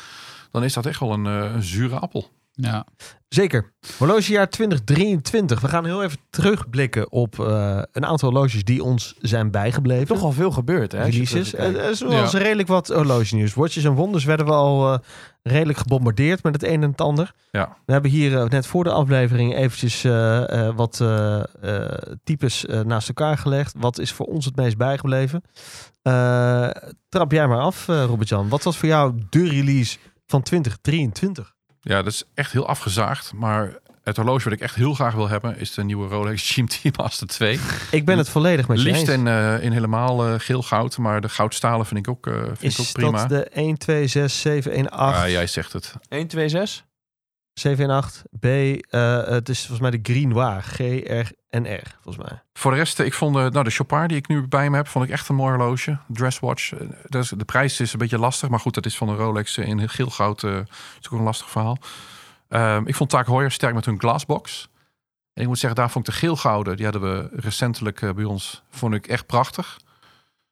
dan is dat echt wel een, eh, een zure appel.
Ja.
Zeker. Horlogejaar 2023. We gaan heel even terugblikken op eh, een aantal horloges die ons zijn bijgebleven.
Toch al veel gebeurd, hè? als je
releases.
terugkijkt.
Er is wel eens redelijk wat horloge nieuws. Watches en Wonders werden we al eh, redelijk gebombardeerd met het een en het ander.
Ja.
We hebben hier eh, net voor de aflevering eventjes eh, eh, wat eh, eh, types eh, naast elkaar gelegd. Wat is voor ons het meest bijgebleven? Eh, trap jij maar af, eh, Robert-Jan. Wat was voor jou de release van 2023?
Ja, dat is echt heel afgezaagd. Maar het horloge wat ik echt heel graag wil hebben... is de nieuwe Rolex GMT Master 2.
Ik ben het volledig met je
Liefst
eens.
in, eh, in helemaal eh, geel-goud. Maar de goudstalen vind ik ook, eh, vind ik
is
ook prima.
dat de 1, 2, 6, 7, 1, 8,
Ah, jij zegt het.
1, 2, 6.
7, 1, 8, B. eh, het is volgens mij de Green Noir. G, R en R, volgens mij.
Voor de rest, eh, ik vond eh, nou, de Chopard die ik nu bij me heb... vond ik echt een mooi horloge. Dresswatch. eh, dat is- de prijs is een beetje lastig. Maar goed, dat is van een Rolex eh, in geel-goud. eh, dat is ook een lastig verhaal. Ehm, ik vond Taak Heuer sterk met hun glasbox. En ik moet zeggen, daar vond ik de geel-gouden... die hadden we recentelijk eh, bij ons... vond ik echt prachtig.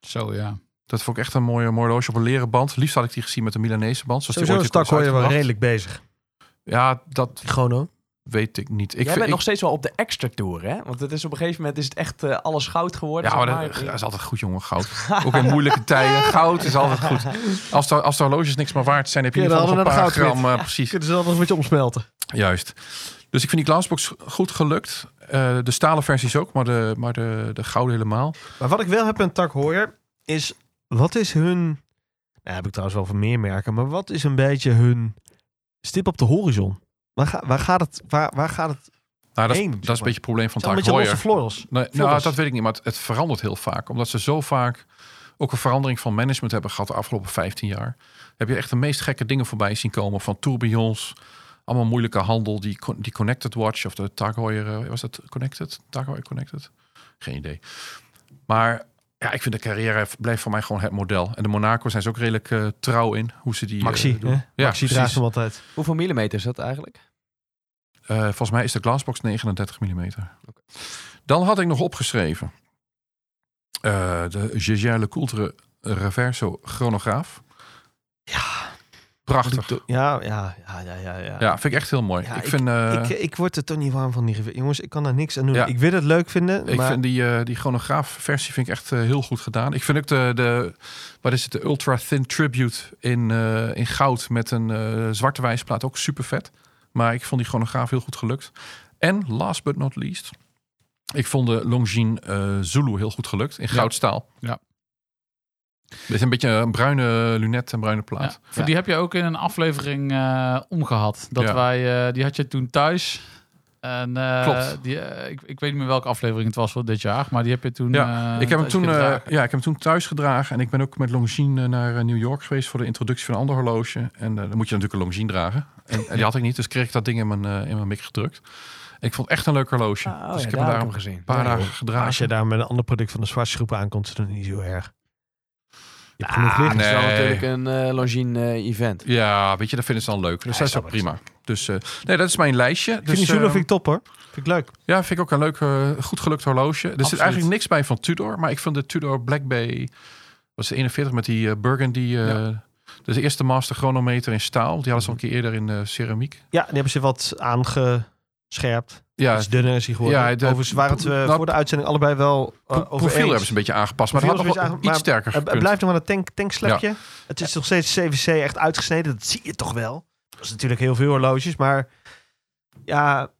Zo ja.
Dat vond ik echt een mooie, mooi horloge op een leren band. Liefst had ik die gezien met een Milanese band. Zoals
Sowieso is
die ooit ook
Tak hoor je wel
is uitgebracht.
redelijk bezig.
Ja, dat
Chrono.
weet ik niet. Ik
Jij
vind-
bent
ik-
nog steeds wel op de extra tour, hè? Want het is op een gegeven moment is het echt eh, alles goud geworden.
ja,
Oh,
zeg
maar dat,
maar.
dat is altijd goed, jongen. Goud. Ook in moeilijke tijden. Goud is altijd goed. Als de, als de horloges niks meer waard zijn, heb je
Ja,
in
dan
ieder geval een
hadden we
paar
naar de goudwit.
gram. eh, precies.
Kunnen ze dat nog een beetje omsmelten?
Juist. Dus ik vind die glassbox goed gelukt. Eh, de stalen versies ook, maar de, maar de, de gouden helemaal.
Maar wat ik wel heb aan Tak Heuer is... Wat is hun... Nou, heb ik trouwens wel van meer merken. Maar wat is een beetje hun stip op de horizon? Waar, ga- waar gaat het... Waar, waar gaat het?
Nou, dat, is-
Eén, zeg
dat is een
maar.
beetje het probleem van
Het zijn
Taak
een beetje losse
Heuer.
florals.
Nee, nou,
Vloggers.
dat weet ik niet, maar het, het verandert heel vaak. Omdat ze zo vaak ook een verandering van management hebben gehad de afgelopen 15 jaar. Heb je echt de meest gekke dingen voorbij zien komen. Van tourbillons, allemaal moeilijke handel. Die, con- die Connected Watch of de Tag Heuer, eh, was dat Connected? Tag Heuer Connected? Geen idee. Maar ja, ik vind de carrière blijft voor mij gewoon het model. En de Monaco zijn ze ook redelijk eh, trouw in. Hoe ze die eh,
Maxi.
doen.
hè?
Ja,
Maxi
precies.
draagt hem altijd.
Hoeveel millimeter is dat eigenlijk?
Eh, volgens mij is de glassbox 39 mm. Dan had ik nog opgeschreven eh, de Gégère Lecoultre Reverso chronograaf. Prachtig.
Ja, ja, ja, ja, ja. ja.
Ja, vind ik echt heel mooi.
Ja,
ik,
ik-
vind, eh,
Ik, ik word er toch niet warm van. Die gewe- Jongens, ik kan daar niks aan doen.
Ja.
Ik wil het leuk vinden,
ik
maar
vind die, eh, die chronograaf versie vind ik echt eh, heel goed gedaan. Ik vind ook de, de, wat is het, de Ultra Thin Tribute in, eh, in goud met een eh, zwarte wijsplaat ook super vet. Maar ik vond die chronograaf heel goed gelukt. En last but not least, ik vond de Longines eh, Zulu heel goed gelukt in goudstaal.
Ja.
Dit is een beetje een bruine lunet en bruine plaat.
Ja. Voor Die heb je ook in een aflevering eh, omgehad. Dat
Ja.
wij, eh, die had je toen thuis. En, eh,
Klopt.
Die, eh, ik, ik weet niet meer welke aflevering het was voor dit jaar, maar die heb je toen.
Ja,
eh,
ik, heb hem
thuis
toen, eh, ja,
gedragen.
ik heb hem toen thuis gedragen. En ik ben ook met Longines eh, naar eh, New York geweest voor de introductie van een ander horloge. En eh, dan moet je natuurlijk een Longines dragen. En, en die had ik niet, dus kreeg ik dat ding in mijn, eh, in mijn mik gedrukt. En ik vond het echt een leuk horloge.
Ah, oh
dus
ja,
ik heb hem
daar had
daar
ik hem
een
gezien.
paar
Ja,
dagen
joh.
als je
gedragen.
daar met een ander product van de Zwartse groep aankomt, is het niet zo erg. Je hebt
Ah,
genoeg licht.
het is wel
Nee.
natuurlijk een eh Longines eh, event.
Ja, weet je, dat vinden ze dan leuk. Dus dat is
snap
wel
ik,
prima. Dus eh, nee, dat is mijn lijstje. Dus,
Vinnie Zulu
eh,
vind ik top hoor. Vind ik leuk.
Ja, vind ik ook een leuk, eh, goed gelukt horloge. Er zit
Absoluut.
eigenlijk niks bij van Tudor, maar ik vind de Tudor Black Bay, was de 41 met die eh, Burgundy, eh, dat is de eerste master chronometer in staal. Die hadden ze al een keer eerder in eh, ceramiek.
Ja, die hebben ze wat aangescherpt.
Ja,
Iets dunner is hij geworden.
Ja, de-
Overigens waren het eh,
nou,
voor de uitzending allebei wel eh,
pro-
over
profiel
eens.
hebben ze een beetje aangepast, maar het had
Profiel
nog wel
is eigenlijk-
iets
maar-
sterker
Eh,
gekund.
Het blijft nog maar een tank, tankslapje. Het is nog steeds CVC echt uitgesneden. Dat zie je toch wel. Dat is natuurlijk heel veel horloges, maar ja,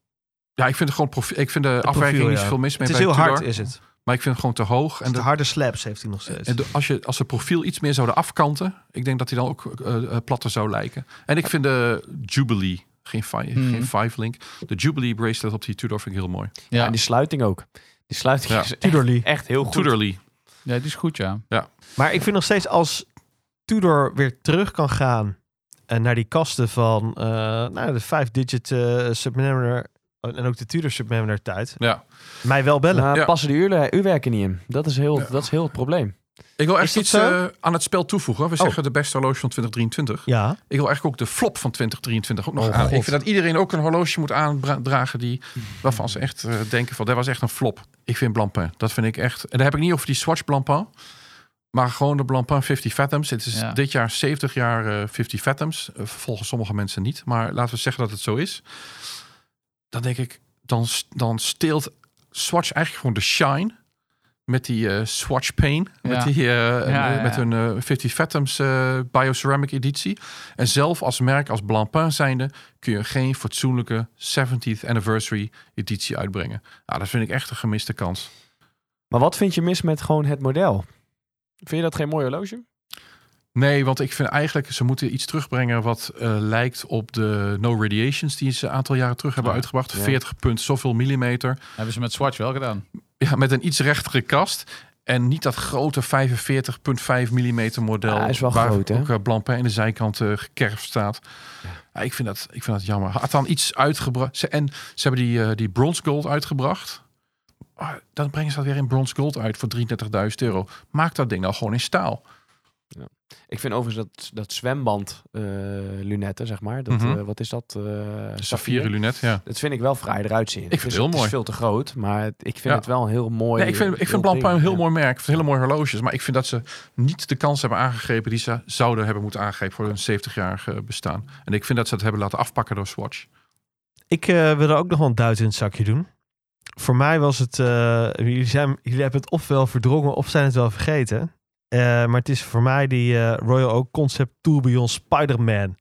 Ja, ik vind, het gewoon profiel, ik vind de afwijking
profiel,
niet
ja.
zoveel mis mee
het is
bij
heel
Tudor,
hard is het.
maar ik vind het gewoon te hoog. En
En de
de,
harde slaps heeft hij nog steeds.
en de- als, je, als de profiel iets meer zouden afkanten, ik denk dat hij dan ook eh, eh, platter zou lijken. En ik vind de Jubilee, geen, fi-
Mhm.
geen Five Link, de Jubilee bracelet op die Tudor vind ik heel mooi.
En
ja.
die sluiting ook. Die sluiting
Ja.
is echt,
Tudorly.
echt heel goed.
Tudorly.
Ja, die is goed, ja.
Maar ik vind nog steeds als Tudor weer terug kan gaan en naar die kasten van eh, nou, de 5-digit eh Submariner en ook de Tudor Submariner tijd,
Ja.
mij wel bellen.
Maar
Ja.
passen de uurle- uurwerken niet in. Dat is heel, dat is heel het probleem.
Ik wil
Is
echt
dat
iets
zo? Oh.
eh, aan het spel toevoegen. We zeggen de beste horloge van 2023.
Ja,
Ik wil eigenlijk ook de flop van 2023 ook nog
Oh,
aan.
God.
Ik vind dat iedereen ook een horloge moet aandragen die, waarvan ze echt eh, denken van, dat was echt een flop. Ik vind Blancpain. Dat vind ik echt. En daar heb ik niet over die Swatch Blancpain. Maar gewoon de Blancpain 50 Fathoms. Het is
Ja.
dit jaar 70 jaar eh, 50 Fathoms. Eh, volgens sommige mensen niet. Maar laten we zeggen dat het zo is. Dan denk ik, dan, s- dan steelt Swatch eigenlijk gewoon de shine. Met die eh, Swatch Pain. Met,
Ja.
die, eh,
ja,
met
ja.
hun eh, 50 Fathoms eh Bioceramic editie. En zelf als merk, als Blancpain zijnde... kun je geen fatsoenlijke 70th Anniversary editie uitbrengen. Nou, dat vind ik echt een gemiste kans.
Maar wat vind je mis met gewoon het model? Vind je dat geen mooi horloge?
Nee, want ik vind eigenlijk, ze moeten iets terugbrengen wat eh, lijkt op de No Radiations die ze een aantal jaren terug hebben
Oh,
uitgebracht.
ja.
40 punt zoveel millimeter.
Hebben ze met Swatch wel gedaan.
Ja, met een iets rechtere kast. En niet dat grote 45,5 millimeter model.
Ah, hij is wel
waar
groot, hè?
ook eh, Blancpain in de zijkant eh gekerfd staat. Ja, ik, vind dat, ik vind dat jammer. Had dan iets uitgebracht. Ze, en ze hebben die, eh, die Bronze Gold uitgebracht. Ah, dan brengen ze dat weer in Bronze Gold uit voor 33.000 euro. Maak dat ding nou gewoon in staal.
Ik vind overigens dat, dat zwemband eh, lunetten, zeg maar. Dat,
Mhm.
eh, wat is dat? eh
Saffieren lunet, ja.
Dat vind ik wel fraai eruit zien. Ik
vind het heel
Het
mooi.
is veel te groot, maar het- ik vind
Ja.
het wel een heel mooi...
Nee, ik vind, ik vind Blancpain een heel mooi merk. Ik vind hele mooie horloges. Maar ik vind dat ze niet de kans hebben aangegrepen die ze zouden hebben moeten aangegrepen voor hun 70-jarig eh, bestaan. En ik vind dat ze het hebben laten afpakken door Swatch.
Ik eh, wil er ook nog wel een duit in het zakje doen. Voor mij was het... eh, jullie, zijn, jullie hebben het ofwel verdrongen of zijn het wel vergeten. Eh, maar het is voor mij die eh, Royal Oak Concept Tourbillon Spider-Man.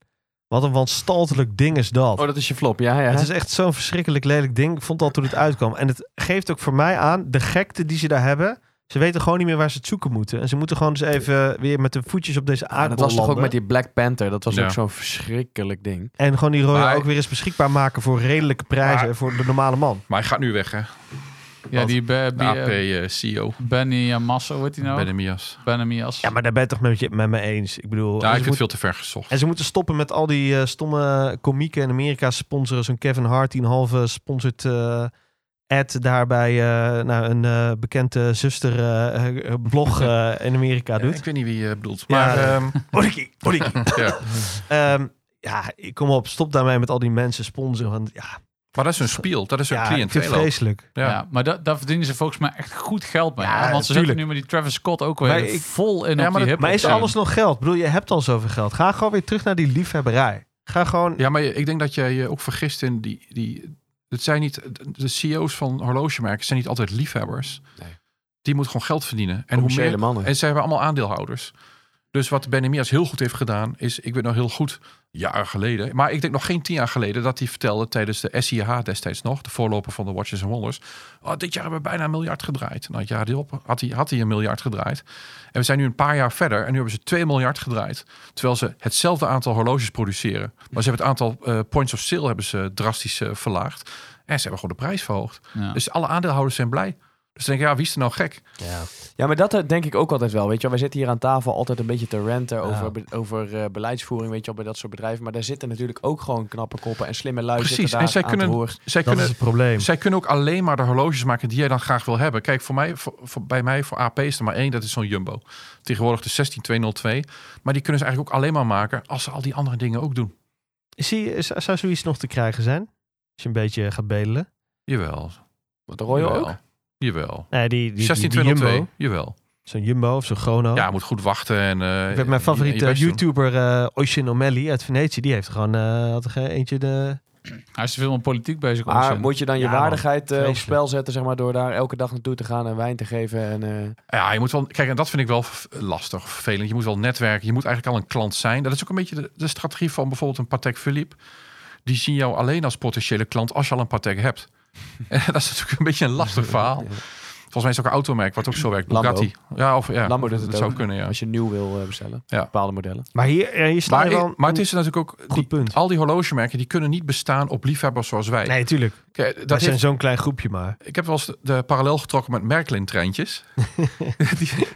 Wat een wanstaltelijk ding is dat.
Oh, dat is je flop, ja. ja.
Het is echt zo'n verschrikkelijk lelijk ding. Ik vond dat toen het uitkwam. En het geeft ook voor mij aan de gekte die ze daar hebben. Ze weten gewoon niet meer waar ze het zoeken moeten. En ze moeten gewoon eens even weer met de voetjes op deze
Ja,
aarde
ah, dat was toch ook
landen.
met die Black Panther. Dat was
Ja.
ook zo'n verschrikkelijk ding.
En gewoon die Royal
Maar-
ook weer eens beschikbaar maken voor redelijke prijzen.
Maar-
voor de normale man.
Maar hij gaat nu weg, hè?
Ja,
Wat?
die Be-
De
Be-
AP eh, CEO
Benny Amasso, hoe heet die
bij
nou?
de Mias.
Benemias.
Ja, maar daar ben je toch met, je, met me eens. Ik bedoel,
Ja, ik
en,
vind
ze
het
moet-
veel te ver gezocht.
en ze moeten stoppen met al die eh, stomme komieken in Amerika sponsoren. Zo'n Kevin Hart die een halve sponsort eh, ad daarbij eh, nou, een eh, bekende zuster eh, eh, blog eh, in Amerika
Ja,
doet.
ik weet niet wie je bedoelt.
Ja,
Maar
eh,
ja.
ehm,
Oriki, oriki.
ja.
Ehm, ja, ik kom op. Stop daarmee met al die mensen sponsoren. Want ja,
Maar dat is hun spiel. Dat is hun
ja ik
cliënt.
vind het vreselijk.
Ja.
Ja. Ja.
maar da daar verdienen ze volgens mij echt goed geld mee.
Ja,
hè? Want ze zitten
tuurlijk.
nu met die Travis Scott ook
Maar
weer
ik-
vol
Ja,
in op
maar
die
dat-
hip
Maar is alles nog geld? Ik bedoel, je hebt al zoveel geld. Ga gewoon weer terug naar die liefhebberij. Ga gewoon...
maar ik denk dat jij je ook vergist in die... die het zijn niet, de CEO's van horlogemerken zijn niet altijd liefhebbers.
Nee.
Die moeten gewoon geld verdienen. En hoe
Commerciële
meer,
mannen.
En zij hebben allemaal aandeelhouders. Dus wat Benemias heel goed heeft gedaan, is, ik weet nog heel goed, jaren geleden, maar ik denk nog geen tien jaar geleden, dat hij vertelde tijdens de SIH destijds nog, de voorloper van de Watches and Wonders, oh, dit jaar hebben we bijna een miljard gedraaid. Nou, het jaar erop had hij, had hij een miljard gedraaid. En we zijn nu een paar jaar verder en nu hebben ze 2 miljard gedraaid. Terwijl ze hetzelfde aantal horloges produceren. Maar ze hebben het aantal eh, points of sale hebben ze drastisch eh, verlaagd. En ze hebben gewoon de prijs verhoogd.
Ja.
Dus alle aandeelhouders zijn blij. Dus dan denk ik, ja, wie is er nou gek?
Ja, maar dat eh, denk ik ook altijd wel. Weet je, wel. wij zitten hier aan tafel altijd een beetje te ranten
Ja.
over, be- over eh, beleidsvoering, weet je, wel, bij dat soort bedrijven. Maar daar zitten natuurlijk ook gewoon knappe koppen en slimme lui
Precies,
zitten
en
daar
zij
aan
kunnen-
te horen.
dat
Zij kunnen,
is het probleem.
Zij kunnen ook alleen maar de horloges maken die jij dan graag wil hebben. Kijk, voor mij, voor, voor- bij mij, voor AP is er maar één, dat is zo'n Jumbo. Tegenwoordig de 16202. Maar die kunnen ze eigenlijk ook alleen maar maken als ze al die andere dingen ook doen.
Zie, je- zou zou zoiets nog te krijgen zijn? Als je een beetje gaat bedelen.
Jawel.
De Royal
jawel.
ook?
Jawel.
Nee, die, die, die, die
16202,
Jumbo.
jawel.
Zo'n Jumbo of zo'n Chrono.
Ja, je moet goed wachten. En, eh,
Ik heb mijn
je- je
favoriete
best doen.
YouTuber eh Oisin O'Malley uit Venetië. Die heeft gewoon eh, had er eentje de...
Hij is te veel met politiek bezig.
Maar
onzin.
moet je dan je
Ja, man.
waardigheid eh, op
Vreselijk.
spel zetten, zeg maar, door daar elke dag naartoe te gaan en wijn te geven? En, eh,
Ja, je moet wel. Kijk, en dat vind ik wel v- lastig, vervelend. Je moet wel netwerken. Je moet eigenlijk al een klant zijn. Dat is ook een beetje de, de strategie van bijvoorbeeld een Patek Philippe. Die zien jou alleen als potentiële klant als je al een Patek hebt. En dat is natuurlijk een beetje een lastig verhaal. Volgens mij is het ook een automerk wat ook zo werkt.
Lambo.
Bugatti. Ja, of ja.
Lambo doet het
dat zou
ook.
kunnen, ja.
Als je nieuw wil eh, bestellen,
Ja.
bepaalde modellen.
Maar hier, ja, hier sta
Maar,
je wel...
ik- maar het is natuurlijk ook...
Goed
die-
punt.
Al die horlogemerken, die kunnen niet bestaan op liefhebbers zoals wij.
Nee, tuurlijk.
Kijk, dat
Dat
heeft-
zijn zo'n klein groepje maar.
ik heb wel eens de, de parallel getrokken met Merklin-treintjes.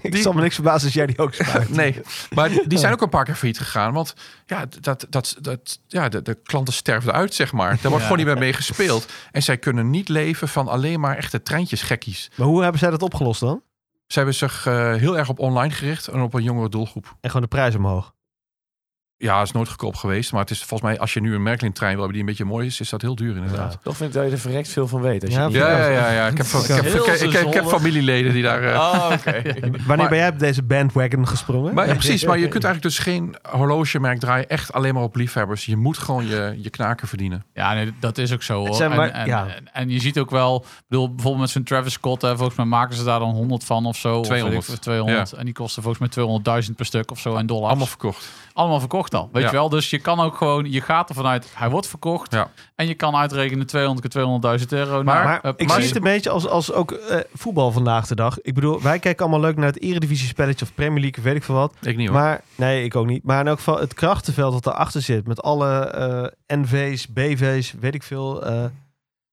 Ik
Die-
zal me niks verbazen als jij die ook spuit.
Nee, maar die- die zijn ook een paar keer failliet gegaan. Want ja, dat, dat, dat, ja de, de klanten sterven uit, zeg maar. Daar wordt gewoon niet meer mee gespeeld. En zij kunnen niet leven van alleen maar echte treintjesgekkies.
Maar hoe hebben zij dat opgelost dan?
Zij hebben zich eh, heel erg op online gericht en op een jongere doelgroep.
En gewoon de prijs omhoog.
Ja, is nooit goedkoop geweest. Maar het is volgens mij, als je nu een Merklin-trein wil hebben die een beetje mooi is, is dat heel duur inderdaad.
Toch vind ik dat je er verrekt veel van weet. Als je
Ja,
niet-
Ja, ja, ja. ja. Ik, heb, ik, heb, ik, heb, ik heb- ik heb familieleden die daar... eh,
Oh, oké.
Wanneer ben jij op deze bandwagon gesprongen?
Maar, ja, precies, maar je kunt eigenlijk dus geen horlogemerk draaien echt alleen maar op liefhebbers. Je moet gewoon je, je knaken verdienen.
Ja, nee, dat is ook zo hoor.
zijn maar-
en, en,
ja.
en, en je ziet ook wel, ik bedoel, bijvoorbeeld met zo'n Travis Scott, hè, volgens mij maken ze daar dan 100 van of zo. of weet ik
200.
veel, 200. En die kosten volgens mij 200.000 per stuk of zo in dollars.
Allemaal verkocht.
Allemaal verkocht al. Weet
Ja.
je wel, dus je kan ook gewoon, je gaat ervan uit, hij wordt verkocht.
Ja.
En je kan uitrekenen 200 keer 200.000 euro.
Maar-
Nou,
Maar
eh,
ik
maar-
zie het een beetje als, als ook eh, voetbal vandaag de dag. Ik bedoel, wij kijken allemaal leuk naar het Eredivisie spelletje of Premier League, weet ik veel wat.
Ik niet hoor.
Maar, nee, ik ook niet. Maar in elk geval het krachtenveld dat erachter zit met alle eh, NV's, BV's, weet ik veel, eh,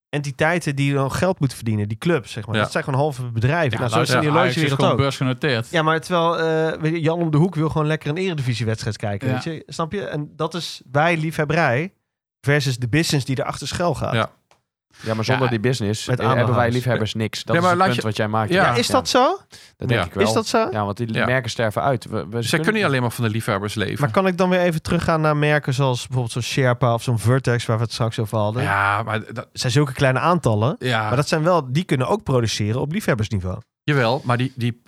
entiteiten die dan geld moeten verdienen. Die clubs, zeg maar.
Ja.
Dat zijn gewoon halve bedrijven. nou, zo
luister,
is het in de
Ajax is
horlogewereld
gewoon
ook.
beursgenoteerd.
Ja, maar terwijl eh, weet je, Jan om de hoek wil gewoon lekker een eredivisiewedstrijd kijken,
Ja.
weet je? Snap je? En dat is wij liefhebberij versus de business die erachter schuil gaat.
Ja.
Ja, maar zonder
Ja,
die business
met
eh, hebben wij
aandeelhouders.
liefhebbers niks. Dat
Ja, maar
is het
laat
punt
je-
wat jij maakt.
Ja.
Ja, is dat zo?
Dat denk
Ja.
ik wel.
Is dat zo?
Ja, want die
Ja.
merken sterven uit. We, we- ze
Zij kunnen niet alleen maar van de liefhebbers leven.
Maar kan ik dan weer even teruggaan naar merken zoals bijvoorbeeld zo'n Sherpa of zo'n Vertex waar we het straks over hadden?
ja, maar dat,
Het zijn zulke kleine aantallen,
ja,
maar dat zijn wel, die kunnen ook produceren op liefhebbersniveau.
jawel, maar die, die,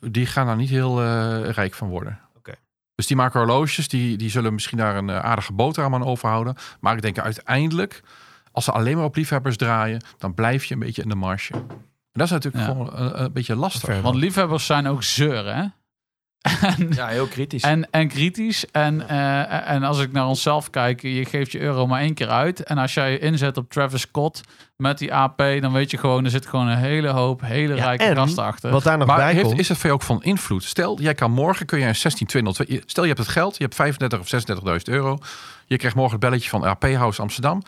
die gaan daar niet heel eh, rijk van worden.
Oké.
Dus die maken horloges, die, die zullen misschien daar een eh, aardige boterham aan overhouden. Maar ik denk uiteindelijk, als ze alleen maar op liefhebbers draaien, dan blijf je een beetje in de marge. En dat is natuurlijk
Ja.
gewoon een, een beetje lastig.
Want liefhebbers zijn ook zeuren, hè? En,
Ja, heel kritisch.
en, en kritisch. En, eh, en als ik naar onszelf kijk, je geeft je euro maar één keer uit. En als jij je inzet op Travis Scott met die AP, dan weet je gewoon, er zit gewoon een hele hoop hele
Ja,
rijke
en
gasten achter.
Wat daar nog
Maar
bij
heeft,
komt,
is het voor jou ook van invloed? Stel, jij kan morgen kun je een 16202. je- Stel, je hebt het geld, je hebt 35 of 36.000 euro. Je krijgt morgen het belletje van AP House Amsterdam.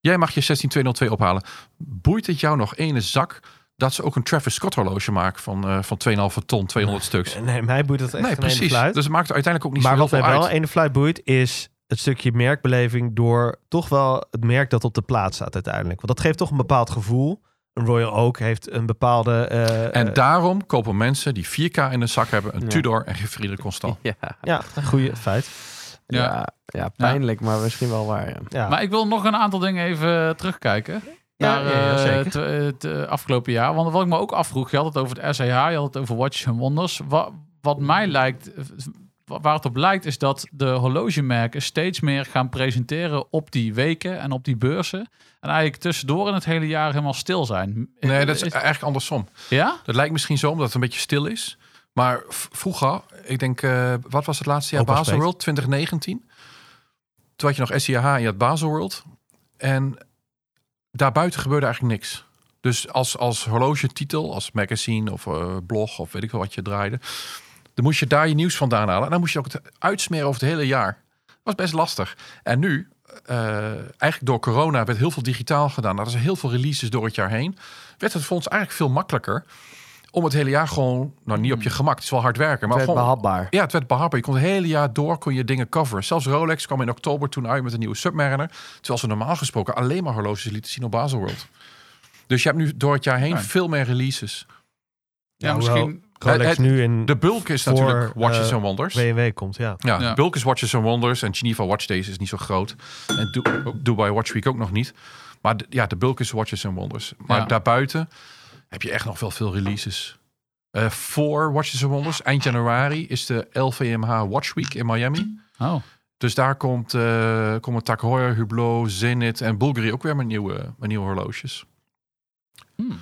Jij mag je 16202 ophalen. Boeit het jou nog ene zak dat ze ook een Travis Scott horloge maken van, eh van 2,5 ton, 200 stuks?
nee, mij boeit dat echt
Nee,
geen ene
precies.
fluit.
Dus het maakt uiteindelijk ook niet
maar
zo
wat
heel
mij
veel
wel
uit.
ene fluit boeit, is het stukje merkbeleving door toch wel het merk dat op de plaats staat uiteindelijk. Want dat geeft toch een bepaald gevoel. Een Royal Oak heeft een bepaalde... eh,
En
eh,
daarom kopen mensen die 4K in een zak hebben... een
Ja.
Tudor en geen Friede Constant.
ja.
ja, een goede feit.
Ja.
Ja. ja, pijnlijk, maar misschien wel waar. Ja.
Ja.
Maar ik wil nog een aantal dingen even eh, terugkijken.
Ja,
naar,
ja, ja,
eh,
zeker.
het- het eh, afgelopen jaar. Want wat ik me ook afvroeg, je had het over het SEH, je had het over Watches and Wonders. Wat, wat mij
Mhm.
lijkt, eh, wa- waar het op lijkt, is dat de horlogemerken steeds meer gaan presenteren op die weken en op die beurzen. En eigenlijk tussendoor in het hele jaar helemaal stil zijn. Eh,
Nee, dat is eigenlijk andersom.
Ja?
Dat lijkt misschien zo, omdat het een beetje stil is. Maar v- vroeger, ik denk, eh, wat was het laatste jaar?
Opa
Basel
spreekt.
World 2019. Toen had je nog SIH en je had Basel World. En daarbuiten gebeurde eigenlijk niks. Dus als, als horlogetitel, als magazine of eh, blog of weet ik wel wat je draaide. Dan moest je daar je nieuws vandaan halen. En dan moest je ook het uitsmeren over het hele jaar. Dat was best lastig. En nu, eh, eigenlijk door corona, werd heel veel digitaal gedaan. Er zijn heel veel releases door het jaar heen. Werd het voor ons eigenlijk veel makkelijker om het hele jaar gewoon, nou niet op je gemak, het is wel hard werken, maar
Het werd
gewoon
behapbaar.
ja, het werd behapbaar. Je kon het hele jaar door kon je dingen coveren. Zelfs Rolex kwam in oktober toen uit met een nieuwe Submariner. Terwijl ze normaal gesproken alleen maar horloges lieten zien op Baselworld. Dus je hebt nu door het jaar heen
Nee.
veel meer releases.
Ja,
Ja, hoewel-
misschien.
Rolex
het-
nu in
De bulk is
Voor,
natuurlijk Watches
eh,
and Wonders.
BMW komt, ja.
Ja,
Ja.
de bulk is Watches and Wonders. En Geneva Watch Days is niet zo groot. En Du- oh, Dubai Watch Week ook nog niet. Maar de- ja, de bulk is Watches and Wonders. Maar
Ja.
daarbuiten heb je echt nog wel veel releases. Eh, voor Watches and Wonders, eind januari, is de LVMH Watch Week in Miami.
Oh,
Dus daar komt, eh komen Takhoi, Hublot, Zenit en Bulgari ook weer met nieuwe, met nieuwe horloges.
hmm.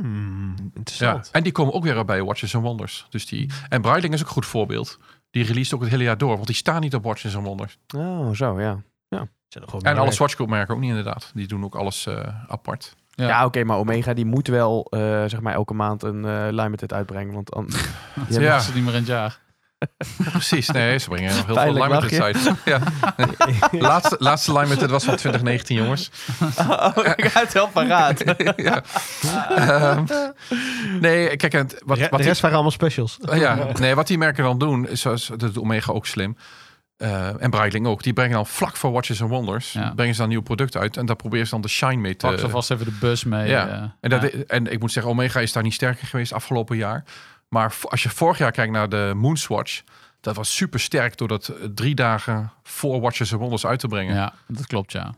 Hmm,
Ja.
interessant.
En die komen ook weer bij Watches and Wonders. Dus die, en Breitling is ook een goed voorbeeld. Die released ook het hele jaar door, want die staan niet op Watches and Wonders.
Oh, zo, ja.
Zijn er gewoon
En
meer
alle Swatch merken ook niet inderdaad. Die doen ook alles eh, apart.
Ja,
Ja.
oké, maar Omega die moet wel eh, zeg maar elke maand een eh limited uitbrengen. Want an- die
Ja,
Dat is het niet meer in het jaar.
precies. Nee, ze brengen nog heel veel
Pijnlijk
limited uit. Ja. laatste, laatste limited was van 2019, jongens.
ik ga het wel paraat.
ja. Ehm, nee, kijk, en het- wat,
Re-
wat
de
die- Oh
rest waren allemaal specials.
Ja, nee, wat die merken dan doen, is zoals dat doet Omega ook slim. eh, en Breitling ook. Die brengen dan vlak voor Watches and Wonders.
Ja.
Brengen ze dan een nieuw product uit. En daar proberen ze dan de shine mee te...
Pak ze vast even de bus mee.
ja.
eh.
en, dat,
Ja.
en ik moet zeggen, Omega is daar niet sterker geweest afgelopen jaar. Maar v- als je vorig jaar kijkt naar de Moonswatch... Dat was super sterk door dat eh, drie dagen voor Watchers and Wonders uit te brengen.
Ja, dat klopt, ja.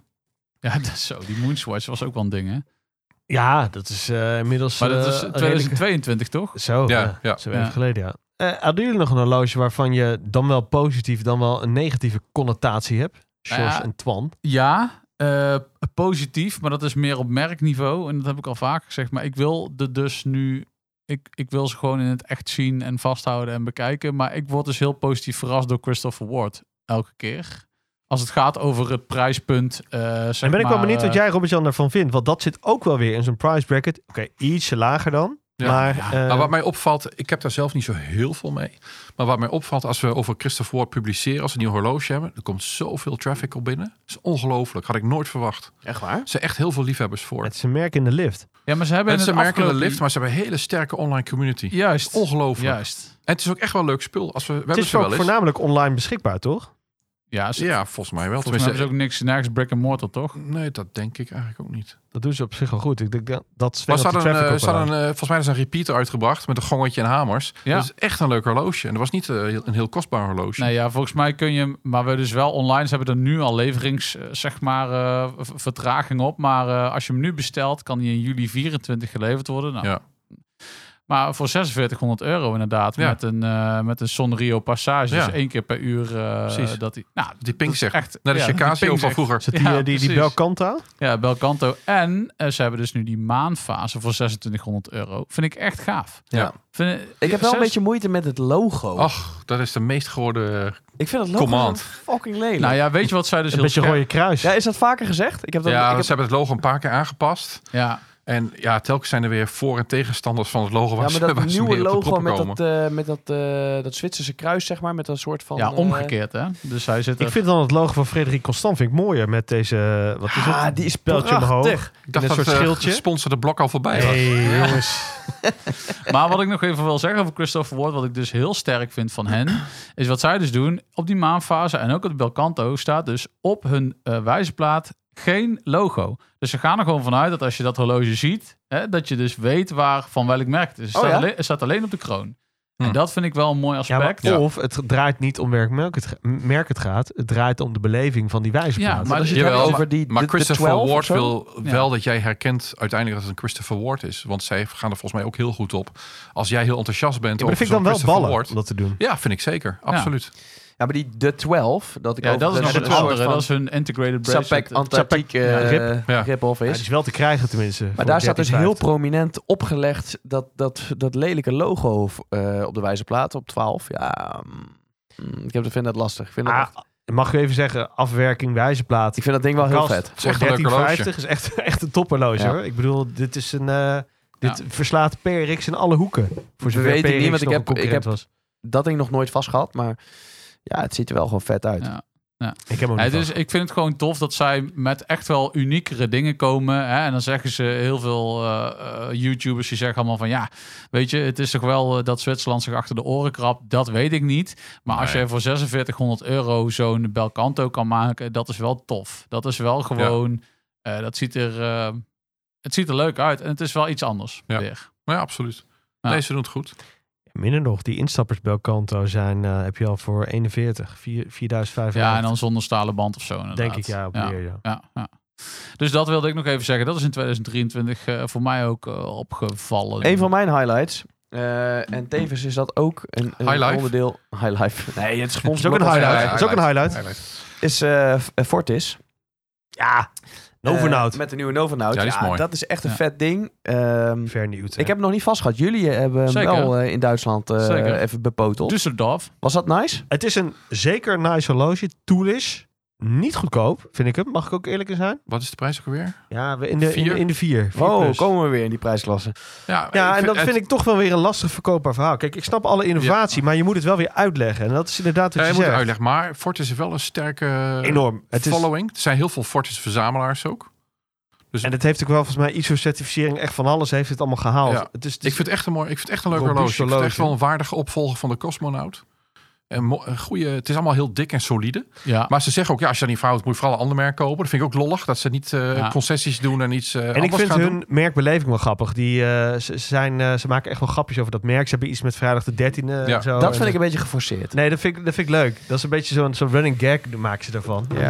Ja, dat is zo. Die Moonswatch was ook wel een ding, hè?
Ja, dat is eh, inmiddels...
Maar dat
eh,
is
een
2022, toch?
Zo,
Ja,
ja.
ja.
Zo even
Ja.
geleden, ja. Eh, hadden jullie nog een horloge waarvan je dan wel positief, dan wel een negatieve connotatie hebt? George
Ja.
en Twan.
Ja, eh, positief, maar dat is meer op merkniveau. En dat heb ik al vaker gezegd. Maar ik wil de dus nu... Ik, ik wil ze gewoon in het echt zien en vasthouden en bekijken. Maar ik word dus heel positief verrast door Christopher Ward. Elke keer. Als het gaat over het prijspunt. eh zeg
En ben ik wel
maar,
benieuwd wat
eh,
jij, Robert-Jan, daarvan vindt. Want dat zit ook wel weer in zo'n price bracket. Oké, ietsje lager dan.
Ja.
maar eh,
Maar Nou, wat mij opvalt, ik heb daar zelf niet zo heel veel mee. Maar wat mij opvalt, als we over Christopher Ward publiceren, als we een nieuw horloge hebben, er komt zoveel traffic op binnen. Dat is ongelooflijk. Had ik nooit verwacht. Er
Echt waar?
zijn echt heel veel liefhebbers voor.
het is een merk in de lift.
Ja, maar ze hebben
En
in
ze
het
merken de
afgelopen-
lift, maar ze hebben een hele sterke online community.
Juist.
Ongelooflijk.
Juist.
En het is ook echt wel een leuk spul. Als we, we
Het
hebben
is
ze
ook
wel eens.
voornamelijk online beschikbaar, toch?
Ja, ze,
Ja, volgens mij wel.
volgens mij is
Tenminste,
ook niks, nergens Brick and Mortar, toch?
Nee, dat denk ik eigenlijk ook niet.
Dat doen ze op zich wel goed. Ik denk dat, dat Sven
Maar ze
dat de
hadden,
traffic
een, eh,
ook
ze
wel
hadden een, eh, volgens mij is een repeater uitgebracht met een gongetje en hamers.
Ja.
Dat is echt een leuk horloge. En dat was niet eh, heel- een heel kostbaar horloge.
Nee, ja, volgens mij kun je hem- maar we dus wel online, ze hebben er nu al leverings, eh, zeg maar, eh, v- vertraging op. Maar eh, als je hem nu bestelt, kan hij in juli 24 geleverd worden. Nou,
Ja.
Maar voor 4600 euro inderdaad,
Ja.
met, een, eh, met een Sonrio Passage.
Ja.
Dus één keer per uur eh,
Precies.
dat hij... Nou,
Die Pink
dat is
zegt,
echt-
Net als
ja,
je
die
Casio
Pink
van
zegt-
vroeger.
Is dat die,
Ja,
eh, die, die
precies.
Belcanta?
Ja, Belcanto. En eh, ze hebben dus nu die maanfase voor 2600 euro. Vind ik echt gaaf.
Ja.
Vind,
Ik heb wel een
zes-
beetje moeite met het logo.
Ach, dat is de meest geworden... eh,
ik vind het logo
Command.
zo fucking lelijk.
Nou ja, weet je wat zij dus
Een
heel
beetje
scherp-
rode kruis.
ja, is dat vaker gezegd? Ik heb dat,
ja,
ik heb
ze hebben het logo een paar keer aangepast.
Ja,
En ja, telkens zijn er weer voor- en tegenstanders van het logo. Waar
Ja,
ze,
maar dat
waar ze
nieuwe
mee op de
logo
proppen
met,
komen.
dat, eh, met dat, eh, dat Zwitserse kruis, zeg maar. Met dat soort van...
ja,
eh,
omgekeerd hè. Dus hij zit er...
Ik vind dan het logo van Frederik Constant vind ik mooier met deze... eh, Wat is het?
Ah, die is
Pijltje omhoog.
prachtig.
Ik dacht
Net
dat
een soort
eh,
schildje.
het sponsorde blok al voorbij was.
hey, jongens.
Maar wat ik nog even wil zeggen over Christopher Ward, wat ik dus heel sterk vind van hen, is wat zij dus doen op die maanfase en ook op de Belcanto staat dus op hun eh wijzerplaat geen logo. Dus ze gaan er gewoon vanuit dat als je dat horloge ziet, hè, dat je dus weet waar van welk merk het is. Het
Oh,
staat,
ja?
alleen, het staat alleen op de kroon. En
Hm.
dat vind ik wel een mooi
Ja, maar
aspect.
of het draait niet om welk merk het, ga- merk het gaat. Het draait om de beleving van die wijzerplaat.
Ja,
Maar
Maar
als je het
jawel,
hebt over die,
Maar
de- de
Christopher
12 of
Ward
zo?
wil
Ja.
wel dat jij herkent uiteindelijk dat het een Christopher Ward is. Want zij gaan er volgens mij ook heel goed op. Als jij heel enthousiast bent
Ja, maar dat
over
vind ik dan wel
zo'n Christopher
ballen om
Ward.
dat te doen.
Ja, vind ik zeker. Absoluut.
Ja, maar die de 12, dat ik
Ja, dat is nog
overigens
een
soort
andere.
van
Dat is hun integrated bracelet.
Sapec Antarctique
ja,
eh,
rip.
Ja.
rip-off
Ja,
is.
het is wel te krijgen tenminste.
maar daar staat dus heel prominent opgelegd dat, dat, dat lelijke logo eh, op de wijze plaat op 12. Ja, mm, ik heb, vind dat lastig. Ik vind dat,
Ah,
echt-
Mag ik even zeggen, afwerking wijzerplaat.
ik vind dat ding wel heel
Kast.
vet.
is echt een leuk
1350 is echt, echt een topperloge
Ja.
hoor. Ik bedoel, dit is een... eh, dit
Ja.
verslaat PRX in alle hoeken. Voor zover
weten
PRX
niet, want ik
nog
heb-
een concurrent
ik heb-
was.
Dat ding nog nooit vast gehad, maar ja, het ziet er wel gewoon vet uit.
Ja.
Ik heb hem ook
Ja,
niet
dus ik vind het gewoon tof dat zij met echt wel uniekere dingen komen. Hè? En dan zeggen ze heel veel eh, eh, YouTubers die zeggen allemaal van ja, weet je, het is toch wel eh, dat Zwitserland zich achter de oren krabt. Dat weet ik niet. Maar als
Nee.
je voor 4600 euro zo'n Belcanto kan maken, dat is wel tof. Dat is wel gewoon, eh, dat ziet er, eh, het ziet er leuk uit. En het is wel iets anders
Ja.
weer.
Ja, absoluut.
Ja.
Nee, ze doen het goed.
Minder nog, die instappers Belcanto zijn, eh, heb je al voor 41, 4, 4.500.
Ja, en dan zonder stalen band of zo. Inderdaad.
denk ik ja, op
Ja.
meer. Ja.
Ja, ja. Dus dat wilde ik nog even zeggen. Dat is in 2023 eh, voor mij ook eh, opgevallen.
Een van mijn highlights. eh, en tevens is dat ook een, een
Highlife?
onderdeel. High life. Nee, het is
Dat is ook een
blok-
highlight.
Ja,
dat is ook een highlight.
Is eh, F- eh, Fortis. Ja.
Novonaut.
met de nieuwe Novonaut.
Ja, die is mooi.
Dat is echt een
Ja.
vet ding. Ehm,
Vernieuwd.
ik heb hem nog niet vast gehad. Jullie hebben hem
Zeker.
wel eh, in Duitsland eh,
Zeker. Dus-
even bepoteld.
Düsseldorf.
Was dat nice?
Het is een zeker nice horloge. Toolish. Niet goedkoop, vind ik hem. Mag ik ook eerlijk in zijn?
Wat is de prijs ook alweer?
Ja, we- in de, in de,
Vier?
in de vier. Vier
Oh,
plus.
komen we weer in die prijsklasse.
Ja,
Ja, en
dat
dat vind ik toch wel weer een lastig verkoopbaar verhaal. Kijk, ik snap alle innovatie, maar je moet het wel weer uitleggen. En dat is inderdaad wat
Ja,
je
je moet
zegt.
uitleggen. Maar Fortis is wel een sterke
Enorm. Het is,
following. Er zijn heel veel Fortis-verzamelaars ook.
en het heeft ook wel volgens mij ISO-certificering echt van alles heeft het allemaal gehaald.
Ja.
Het is, het is-
Ik vind het echt een mooi, ik vind het echt een leuk
Robuust
horloge. Ik vind het echt
horloge.
wel een waardige opvolger van de Cosmonaut. een mo- een goede... Het is allemaal heel dik en solide.
Ja.
Maar ze zeggen ook, ja, als je dat niet verhoudt, moet je vooral een ander merk kopen. Dat vind ik ook lollig, dat ze niet eh,
Ja.
concessies doen en iets eh
En ik
anders
vind
gaan
hun
doen.
merkbeleving wel grappig. Die, eh, ze, zijn, eh, ze maken echt wel grapjes over dat merk. Ze hebben iets met vrijdag de 13e.
Ja.
en zo.
dat vind
En-
ik een beetje geforceerd.
Nee, dat vind, ik- dat vind ik leuk. Dat is een beetje zo'n zo'n running gag maken ze ervan.
Ja, ja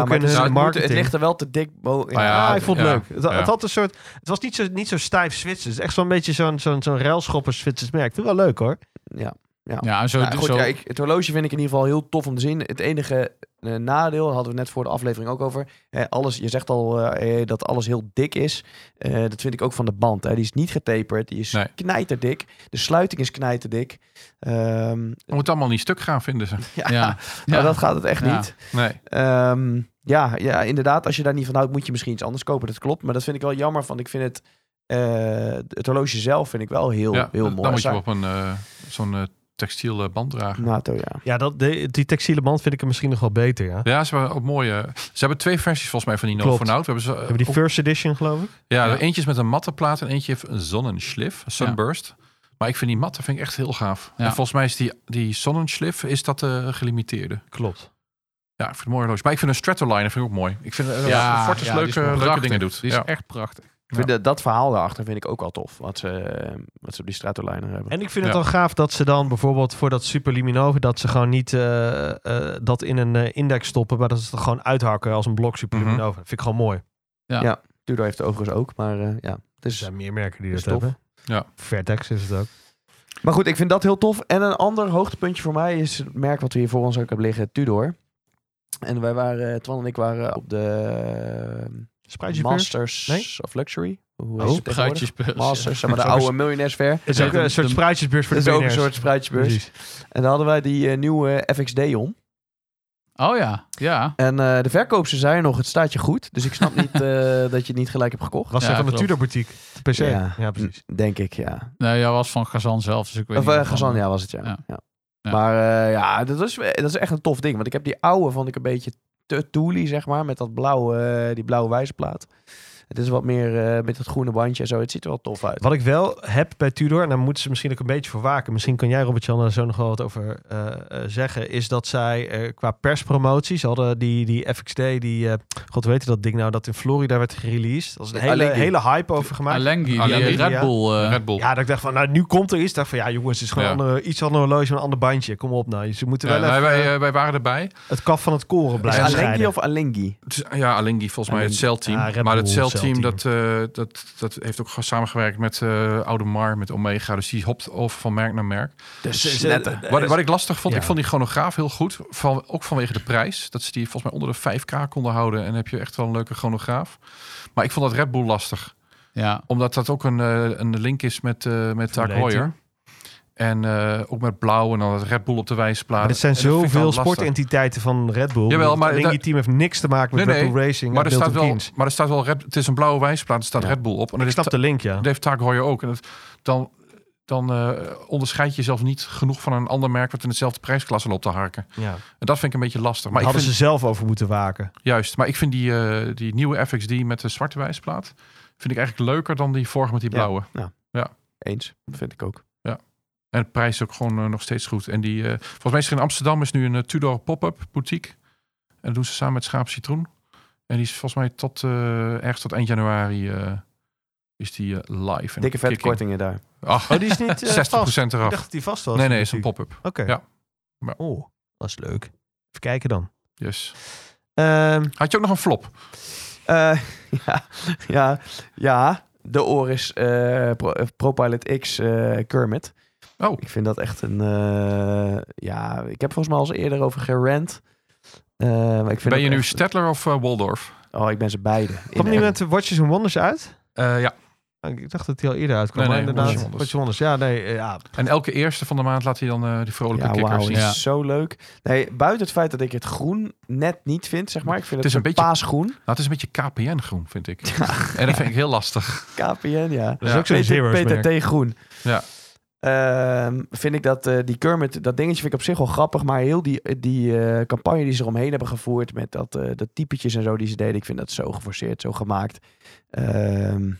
Ook
maar
in
het, is-
hun
het moet-
marketing.
het ligt er wel te dik boven.
Ja,
Ah ja,
ik vond het
ja,
leuk. Het,
ja.
het had een soort, het was niet zo, niet zo stijf Zwitsers. Het is echt zo'n beetje zo'n zo'n zo'n railschopper Zwitsers merk. Ik vind het wel leuk hoor.
ja.
Ja, en zo,
Nou, goed,
zo
ja, ik, het horloge vind ik in ieder geval heel tof om te zien. Het enige eh, nadeel, daar hadden we net voor de aflevering ook over. Eh, alles, je zegt al eh, eh, dat alles heel dik is. Eh, dat vind ik ook van de band. Hè. Die is niet getaperd, die is
Nee.
knijterdik. De sluiting is knijterdik. Ehm,
Het moet allemaal niet stuk gaan, vinden ze.
ja,
ja.
Nou,
Ja.
dat gaat het echt
Ja.
niet.
Nee.
Ehm, ja, ja, inderdaad, als je daar niet van houdt, moet je misschien iets anders kopen. Dat klopt, maar dat vind ik wel jammer, want ik vind het... eh, het horloge zelf vind ik wel heel,
ja,
heel mooi.
Dan moet je op een, eh, zo'n eh, textiel eh, band dragen.
NATO, ja.
Ja, dat, de- die textiele band vind ik hem misschien nog wel beter. Ja.
Ja, ze hebben ook mooie. Ze hebben twee versies volgens mij van die
Klopt.
Note Note. We hebben ze, eh,
Hebben die
ook-
first edition geloof ik?
ja,
Ja.
eentje is met een matte plaat en eentje heeft een zonneschlif, sunburst. Maar ik vind die matte vind ik echt heel gaaf.
Ja.
En volgens mij is die, die zonneschlif is dat de gelimiteerde.
Klopt.
Ja, ik vind het mooi horloge. Maar ik vind een Stratoliner vind ik ook mooi. Ik vind eh, dat Fortis
ja, die is
leuke, leuke
prachtig.
dingen doet.
Die is
ja.
echt prachtig.
Ik vind dat, dat verhaal daarachter vind ik ook al tof. Wat ze, eh, wat ze op die Stratoliner hebben.
En ik vind het
Ja.
wel gaaf dat ze dan bijvoorbeeld voor dat superliminoven... dat ze gewoon niet eh, eh, dat in een eh, index stoppen... maar dat ze het gewoon uithakken als een blok superliminoven.
Mhm.
Dat vind ik gewoon mooi.
Tudor heeft het overigens ook, maar eh, ja.
Er
Dus.
zijn meer merken die
dat
dat,
is tof.
hebben.
Ja.
Vertex is het ook.
Maar goed, ik vind dat heel tof. En een ander hoogtepuntje voor mij is het merk wat we hier voor ons ook hebben liggen, Tudor. En wij waren, eh, Twan en ik waren op de eh,
Spruitje First.
Masters
Nee?
of Luxury. Hoe
Oh,
heet het tegenwoordig?
Pruitjespeurs.
Masters, zeg maar de
Dat is ook
oude miljonairs fair.
Het is ook
Ja,
een
de-
soort
de-
spruitjesbeurs voor
Dat
de
is ook een
BNR's.
soort spruitjebeurs.
Precies.
En daar hadden wij die eh, nieuwe FXD om.
Oh ja, ja.
En eh, de verkoopster zei nog, het staat je goed. Dus ik snap niet eh, dat je het niet gelijk hebt gekocht.
Was
Ja,
er van de
klopt.
Tudor boutique. Per se. Ja, Hm.
Ja.
precies.
Denk ik, ja.
Nee, jij was van Gazan zelf, dus ik weet
Of
niet.
eh,
wat van-
Gazan, ja, was het, ja.
Ja.
Ja.
Ja.
Maar eh, ja, dat is, dat is echt een tof ding. Want ik heb die oude, vond ik een beetje te toelie, zeg maar. Met dat blauwe, eh, die blauwe wijzerplaat. Het is wat meer eh, met dat groene bandje en zo. Het ziet er wel tof uit.
Wat ik wel heb bij Tudor, en daar moeten ze misschien ook een beetje voor waken. Misschien kan jij, Robert-Jan, daar zo nog wel wat over eh, eh, zeggen. Is dat zij eh, qua perspromotie, ze hadden die, die FXD, die, eh, god weet dat ding nou, dat in Florida werd gereleased. Dat is een
Ja,
hele,
Alenghi.
hele hype over gemaakt.
Alenghi,
Alenghi,
die eh, Red
ja.
Bull. eh,
Red Bull.
Ja, dat ik dacht van, nou nu komt er iets. Ik dacht van, ja jongens, het is gewoon
Ja.
een andere- iets ander horloge, een ander bandje. Kom op nou, ze moeten
Ja,
wel
wij,
even
wij, eh, wij waren erbij.
het kaf van het koren
Is
blijven
het Alengi
scheiden.
of Alengi?
Het is- Ja, Alingi volgens mij, het celteam.
Ja, Ah, Red
maar het
Bull,
celteam,
celteam.
dat, eh, dat, dat heeft ook samengewerkt met eh, Oude Mar, met Omega. Dus die hopt over van merk naar merk.
Ze- ze- eh,
Wat, wat ik lastig vond,
Ja.
ik vond die chronograaf heel goed. Van, ook vanwege de prijs. Dat ze die volgens mij onder de 5k konden houden. En dan heb je echt wel een leuke chronograaf. Maar ik vond dat Red Bull lastig.
ja.
Omdat dat ook een, eh, een link is met, eh met Tag
Formule
Heuer. En eh, ook met blauw en dan het Red Bull op de wijsplaat.
maar er zijn
En dat vind ik
zoveel
dan lastig.
sportentiteiten van Red Bull.
Jawel, maar
Alleen die
dat-
team heeft niks te maken met
Nee,
Red
nee,
Bull Racing.
Maar er,
en
staat
Milton
wel,
Keynes.
maar er staat wel Red, het is een blauwe wijsplaat, er staat
Ja.
Red Bull op. En dat
Ik
heeft
snap
Ta-
de link, ja.
Dat heeft Taak Heuer ook. En dat, dan dan eh, onderscheid je jezelf niet genoeg van een ander merk... wat in dezelfde prijsklasse loopt te harken.
ja.
En dat vind ik een beetje lastig. Maar
Maar
ik
hadden
vind,
ze zelf over moeten waken.
Juist, maar ik vind die, eh, die nieuwe FXD met de zwarte wijsplaat... vind ik eigenlijk leuker dan die vorige met die
Ja.
blauwe.
Eens, vind ik ook.
En de prijs is ook gewoon eh, nog steeds goed. En die, eh, volgens mij is er in Amsterdam is nu een eh, Tudor pop-up boutique. En dat doen ze samen met Schaap Citroen. En die is volgens mij tot eh, ergens tot eind januari eh, is die eh, live. En
Dikke vet
kicking.
kortingen daar.
Ach,
Oh, die is niet
60%
Ik
eraf.
dacht dat die vast was.
Nee, nee, is een pop-up.
Oké.
Ja. Ja.
Oh, dat is leuk. Even kijken dan.
Yes.
Ehm,
Had je ook nog een flop?
Eh, ja, ja, ja, de Oris eh, Pro- eh, ProPilot X eh, Kermit.
Oh.
Ik vind dat echt een... eh, ja, ik heb volgens mij al eens eerder over gerant. Eh, maar ik vind
Ben je
dat
nu
echt-
Stedtler of eh, Waldorf?
Oh, ik ben ze beide.
Kwam die met Watches and Wonders uit?
Eh, ja.
Oh, Ik dacht dat die al eerder uitkwam. maar
Nee, nee,
inderdaad. Watches
Watches and
and Wonders. Ja, nee. eh, Ja.
En elke eerste van de maand laat hij dan eh, die vrolijke
ja,
kikkers
wauw,
zien.
het is zo leuk. Nee, buiten het feit dat ik het groen net niet vind, zeg maar. Ik vind het,
is
een
een beetje-
paasgroen.
Nou, het is een beetje KPN-groen, vind ik. En dat vind ik heel lastig.
KPN, ja.
Dat is
Ja.
ook zo'n zero's merk.
PTT groen.
Ja.
Ehm, vind ik dat eh, die Kermit, dat dingetje vind ik op zich wel grappig, maar heel die, die eh, campagne die ze eromheen hebben gevoerd met dat, eh, dat typetjes en zo die ze deden, ik vind dat zo geforceerd, zo gemaakt. Ehm,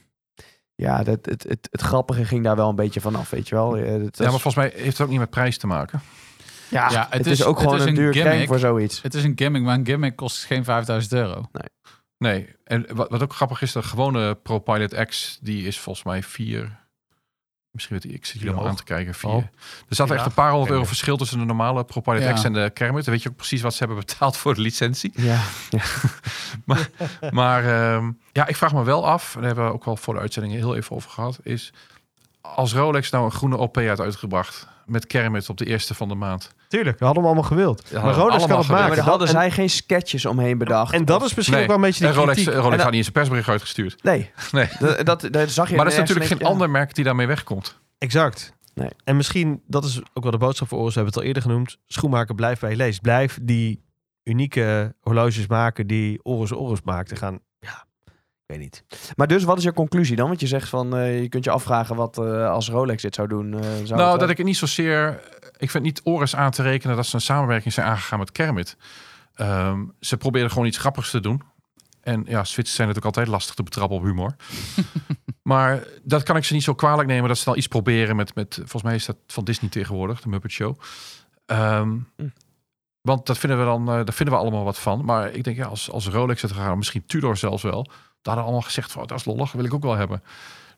ja, dat, het, het, het grappige ging daar wel een beetje vanaf, weet je wel. Eh, dat, dat
Ja, maar
is-
volgens mij heeft het ook niet met prijs te maken.
Ja,
Ja,
het, is, ook
het
gewoon
is
een
een
duur game
gimmick.
voor zoiets.
Het is een gimmick, maar een gimmick kost geen 5000 euro.
Nee, en wat, wat ook grappig is, de gewone ProPilot X, die is volgens mij 4. Misschien weet ik, ik zit jullie allemaal aan te kijken. Vier.
Oh.
Er zat echt
Ja.
een paar honderd
Ken
euro
je.
verschil tussen de normale ProPilot
Ja.
X en de Kermit. Dan weet je ook precies wat ze hebben betaald voor de licentie.
Ja.
Maar ehm, ja, ik vraag me wel af, en daar hebben we ook wel voor de uitzending heel even over gehad, is als Rolex nou een groene OP had uitgebracht met Kermit op de eerste van de maand.
Tuurlijk, we hadden hem allemaal gewild.
Ja,
maar Rolex
allemaal
kan het
gewild.
Maar
maken.
daar hadden
en,
zij geen sketches omheen bedacht.
en dat is misschien ook wel een beetje
en
die
Rolex,
kritiek.
Rolex
En-
had niet eens een persbericht uitgestuurd.
Nee,
Nee.
dat, dat, dat zag je
Maar dat is
nergens
natuurlijk
en
geen
denk je, ja.
ander merk die daarmee wegkomt.
Exact.
Nee.
En misschien, dat is ook wel de boodschap voor ons, we hebben het al eerder genoemd. Schoenmaker, blijf bij je lees. Blijf die unieke horloges maken die Oris Oris maakt. En gaan, ja, ik weet niet.
Maar dus, wat is je conclusie dan? Want je zegt van, eh, je kunt je afvragen wat eh, als Rolex dit zou doen. eh, zou
nou,
het,
dat ik het niet zozeer. Ik vind niet Oris aan te rekenen dat ze een samenwerking zijn aangegaan met Kermit. Ehm, ze probeerden gewoon iets grappigs te doen. En ja, Zwitsers zijn natuurlijk altijd lastig te betrappen op humor. maar dat kan ik ze niet zo kwalijk nemen dat ze dan iets proberen met, met. Volgens mij is dat van Disney tegenwoordig, de Muppet Show. Ehm,
Hm.
Want dat vinden we dan, eh, daar vinden we allemaal wat van. Maar ik denk, ja, als, als Rolex het gaan, misschien Tudor zelfs wel. Daar hadden allemaal gezegd van, oh, dat is lollig, wil ik ook wel hebben.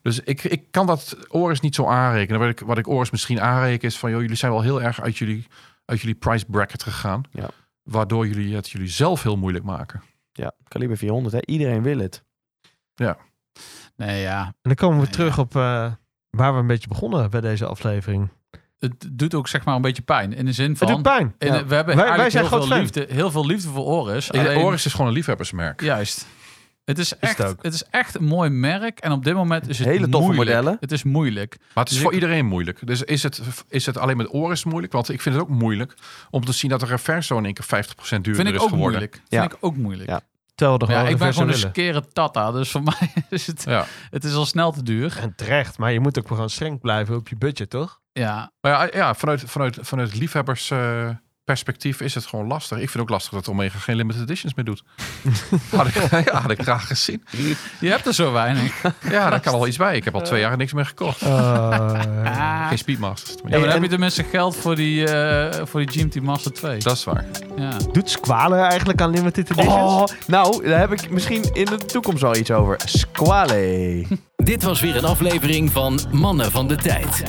Dus ik, ik kan dat Oris niet zo aanrekenen. Wat ik, wat ik Oris misschien aanreken is van... Joh, jullie zijn wel heel erg uit jullie, uit jullie price bracket gegaan.
Ja.
Waardoor jullie het jullie zelf heel moeilijk maken.
Ja, kaliber 400, hè? iedereen wil het.
Nee, ja.
En dan komen we
Nee,
terug op eh, waar we een beetje begonnen bij deze aflevering.
Het doet ook zeg maar een beetje pijn. In de zin
Het
van...
doet pijn.
in-
Ja.
Eh, We
Wij-
hebben
wij
eigenlijk
zijn
heel,
groot
veel
fan.
liefde, heel veel liefde voor Oris.
Ik-
Alleen-
Oris is gewoon een liefhebbersmerk.
Juist. Het is, echt,
het
het,
ook.
is echt een mooi merk. En op dit moment is het
Hele toffe
moeilijk.
modellen.
Het is moeilijk.
Maar het is
Dus
voor
ik-
iedereen moeilijk. Dus is het, is het alleen met Oris moeilijk? Want ik vind het ook moeilijk om te zien dat de reverso in één keer 50% duurder
Vind ik
is
ook
geworden.
moeilijk.
Ja.
Vind ik ook moeilijk.
Ja.
Terwijl we er
Maar Ja,
gewoon
ik ben
reverse
gewoon een
willen.
skere tata. Dus voor mij is het,
Ja.
het is al snel te duur.
En terecht, maar je moet ook wel gewoon streng blijven op je budget, toch?
Ja,
Maar ja, ja vanuit, vanuit, vanuit liefhebbersperspectief perspectief is het gewoon lastig. Ik vind het ook lastig dat Omega geen limited editions meer doet. had, ik, ja, had ik graag gezien.
je hebt er zo weinig.
Ja, daar kan wel iets bij. Ik heb al twee jaar niks meer gekocht.
Eh,
Ah.
Geen Speedmasters.
Eh, Ja,
Ja,
maar dan
en-
heb je tenminste geld voor die, eh voor die GMT Master 2.
dat is waar.
Ja.
Doet Squaler eigenlijk aan limited editions?
Oh, nou, daar heb ik misschien in de toekomst wel iets over. Squale.
Dit was weer een aflevering van Mannen van de Tijd.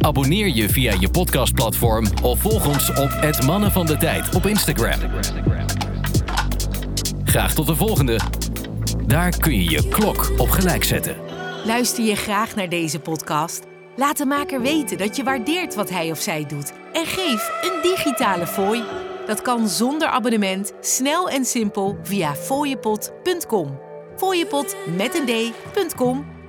Abonneer je via je podcastplatform of volg ons op het Mannen van de Tijd op Instagram. Graag tot de volgende. Daar kun je je klok op gelijk zetten.
Luister je graag naar deze podcast? Laat de maker weten dat je waardeert wat hij of zij doet en geef een digitale fooi. Dat kan zonder abonnement, snel en simpel via fooiepot.com. Fooiepot met een d.com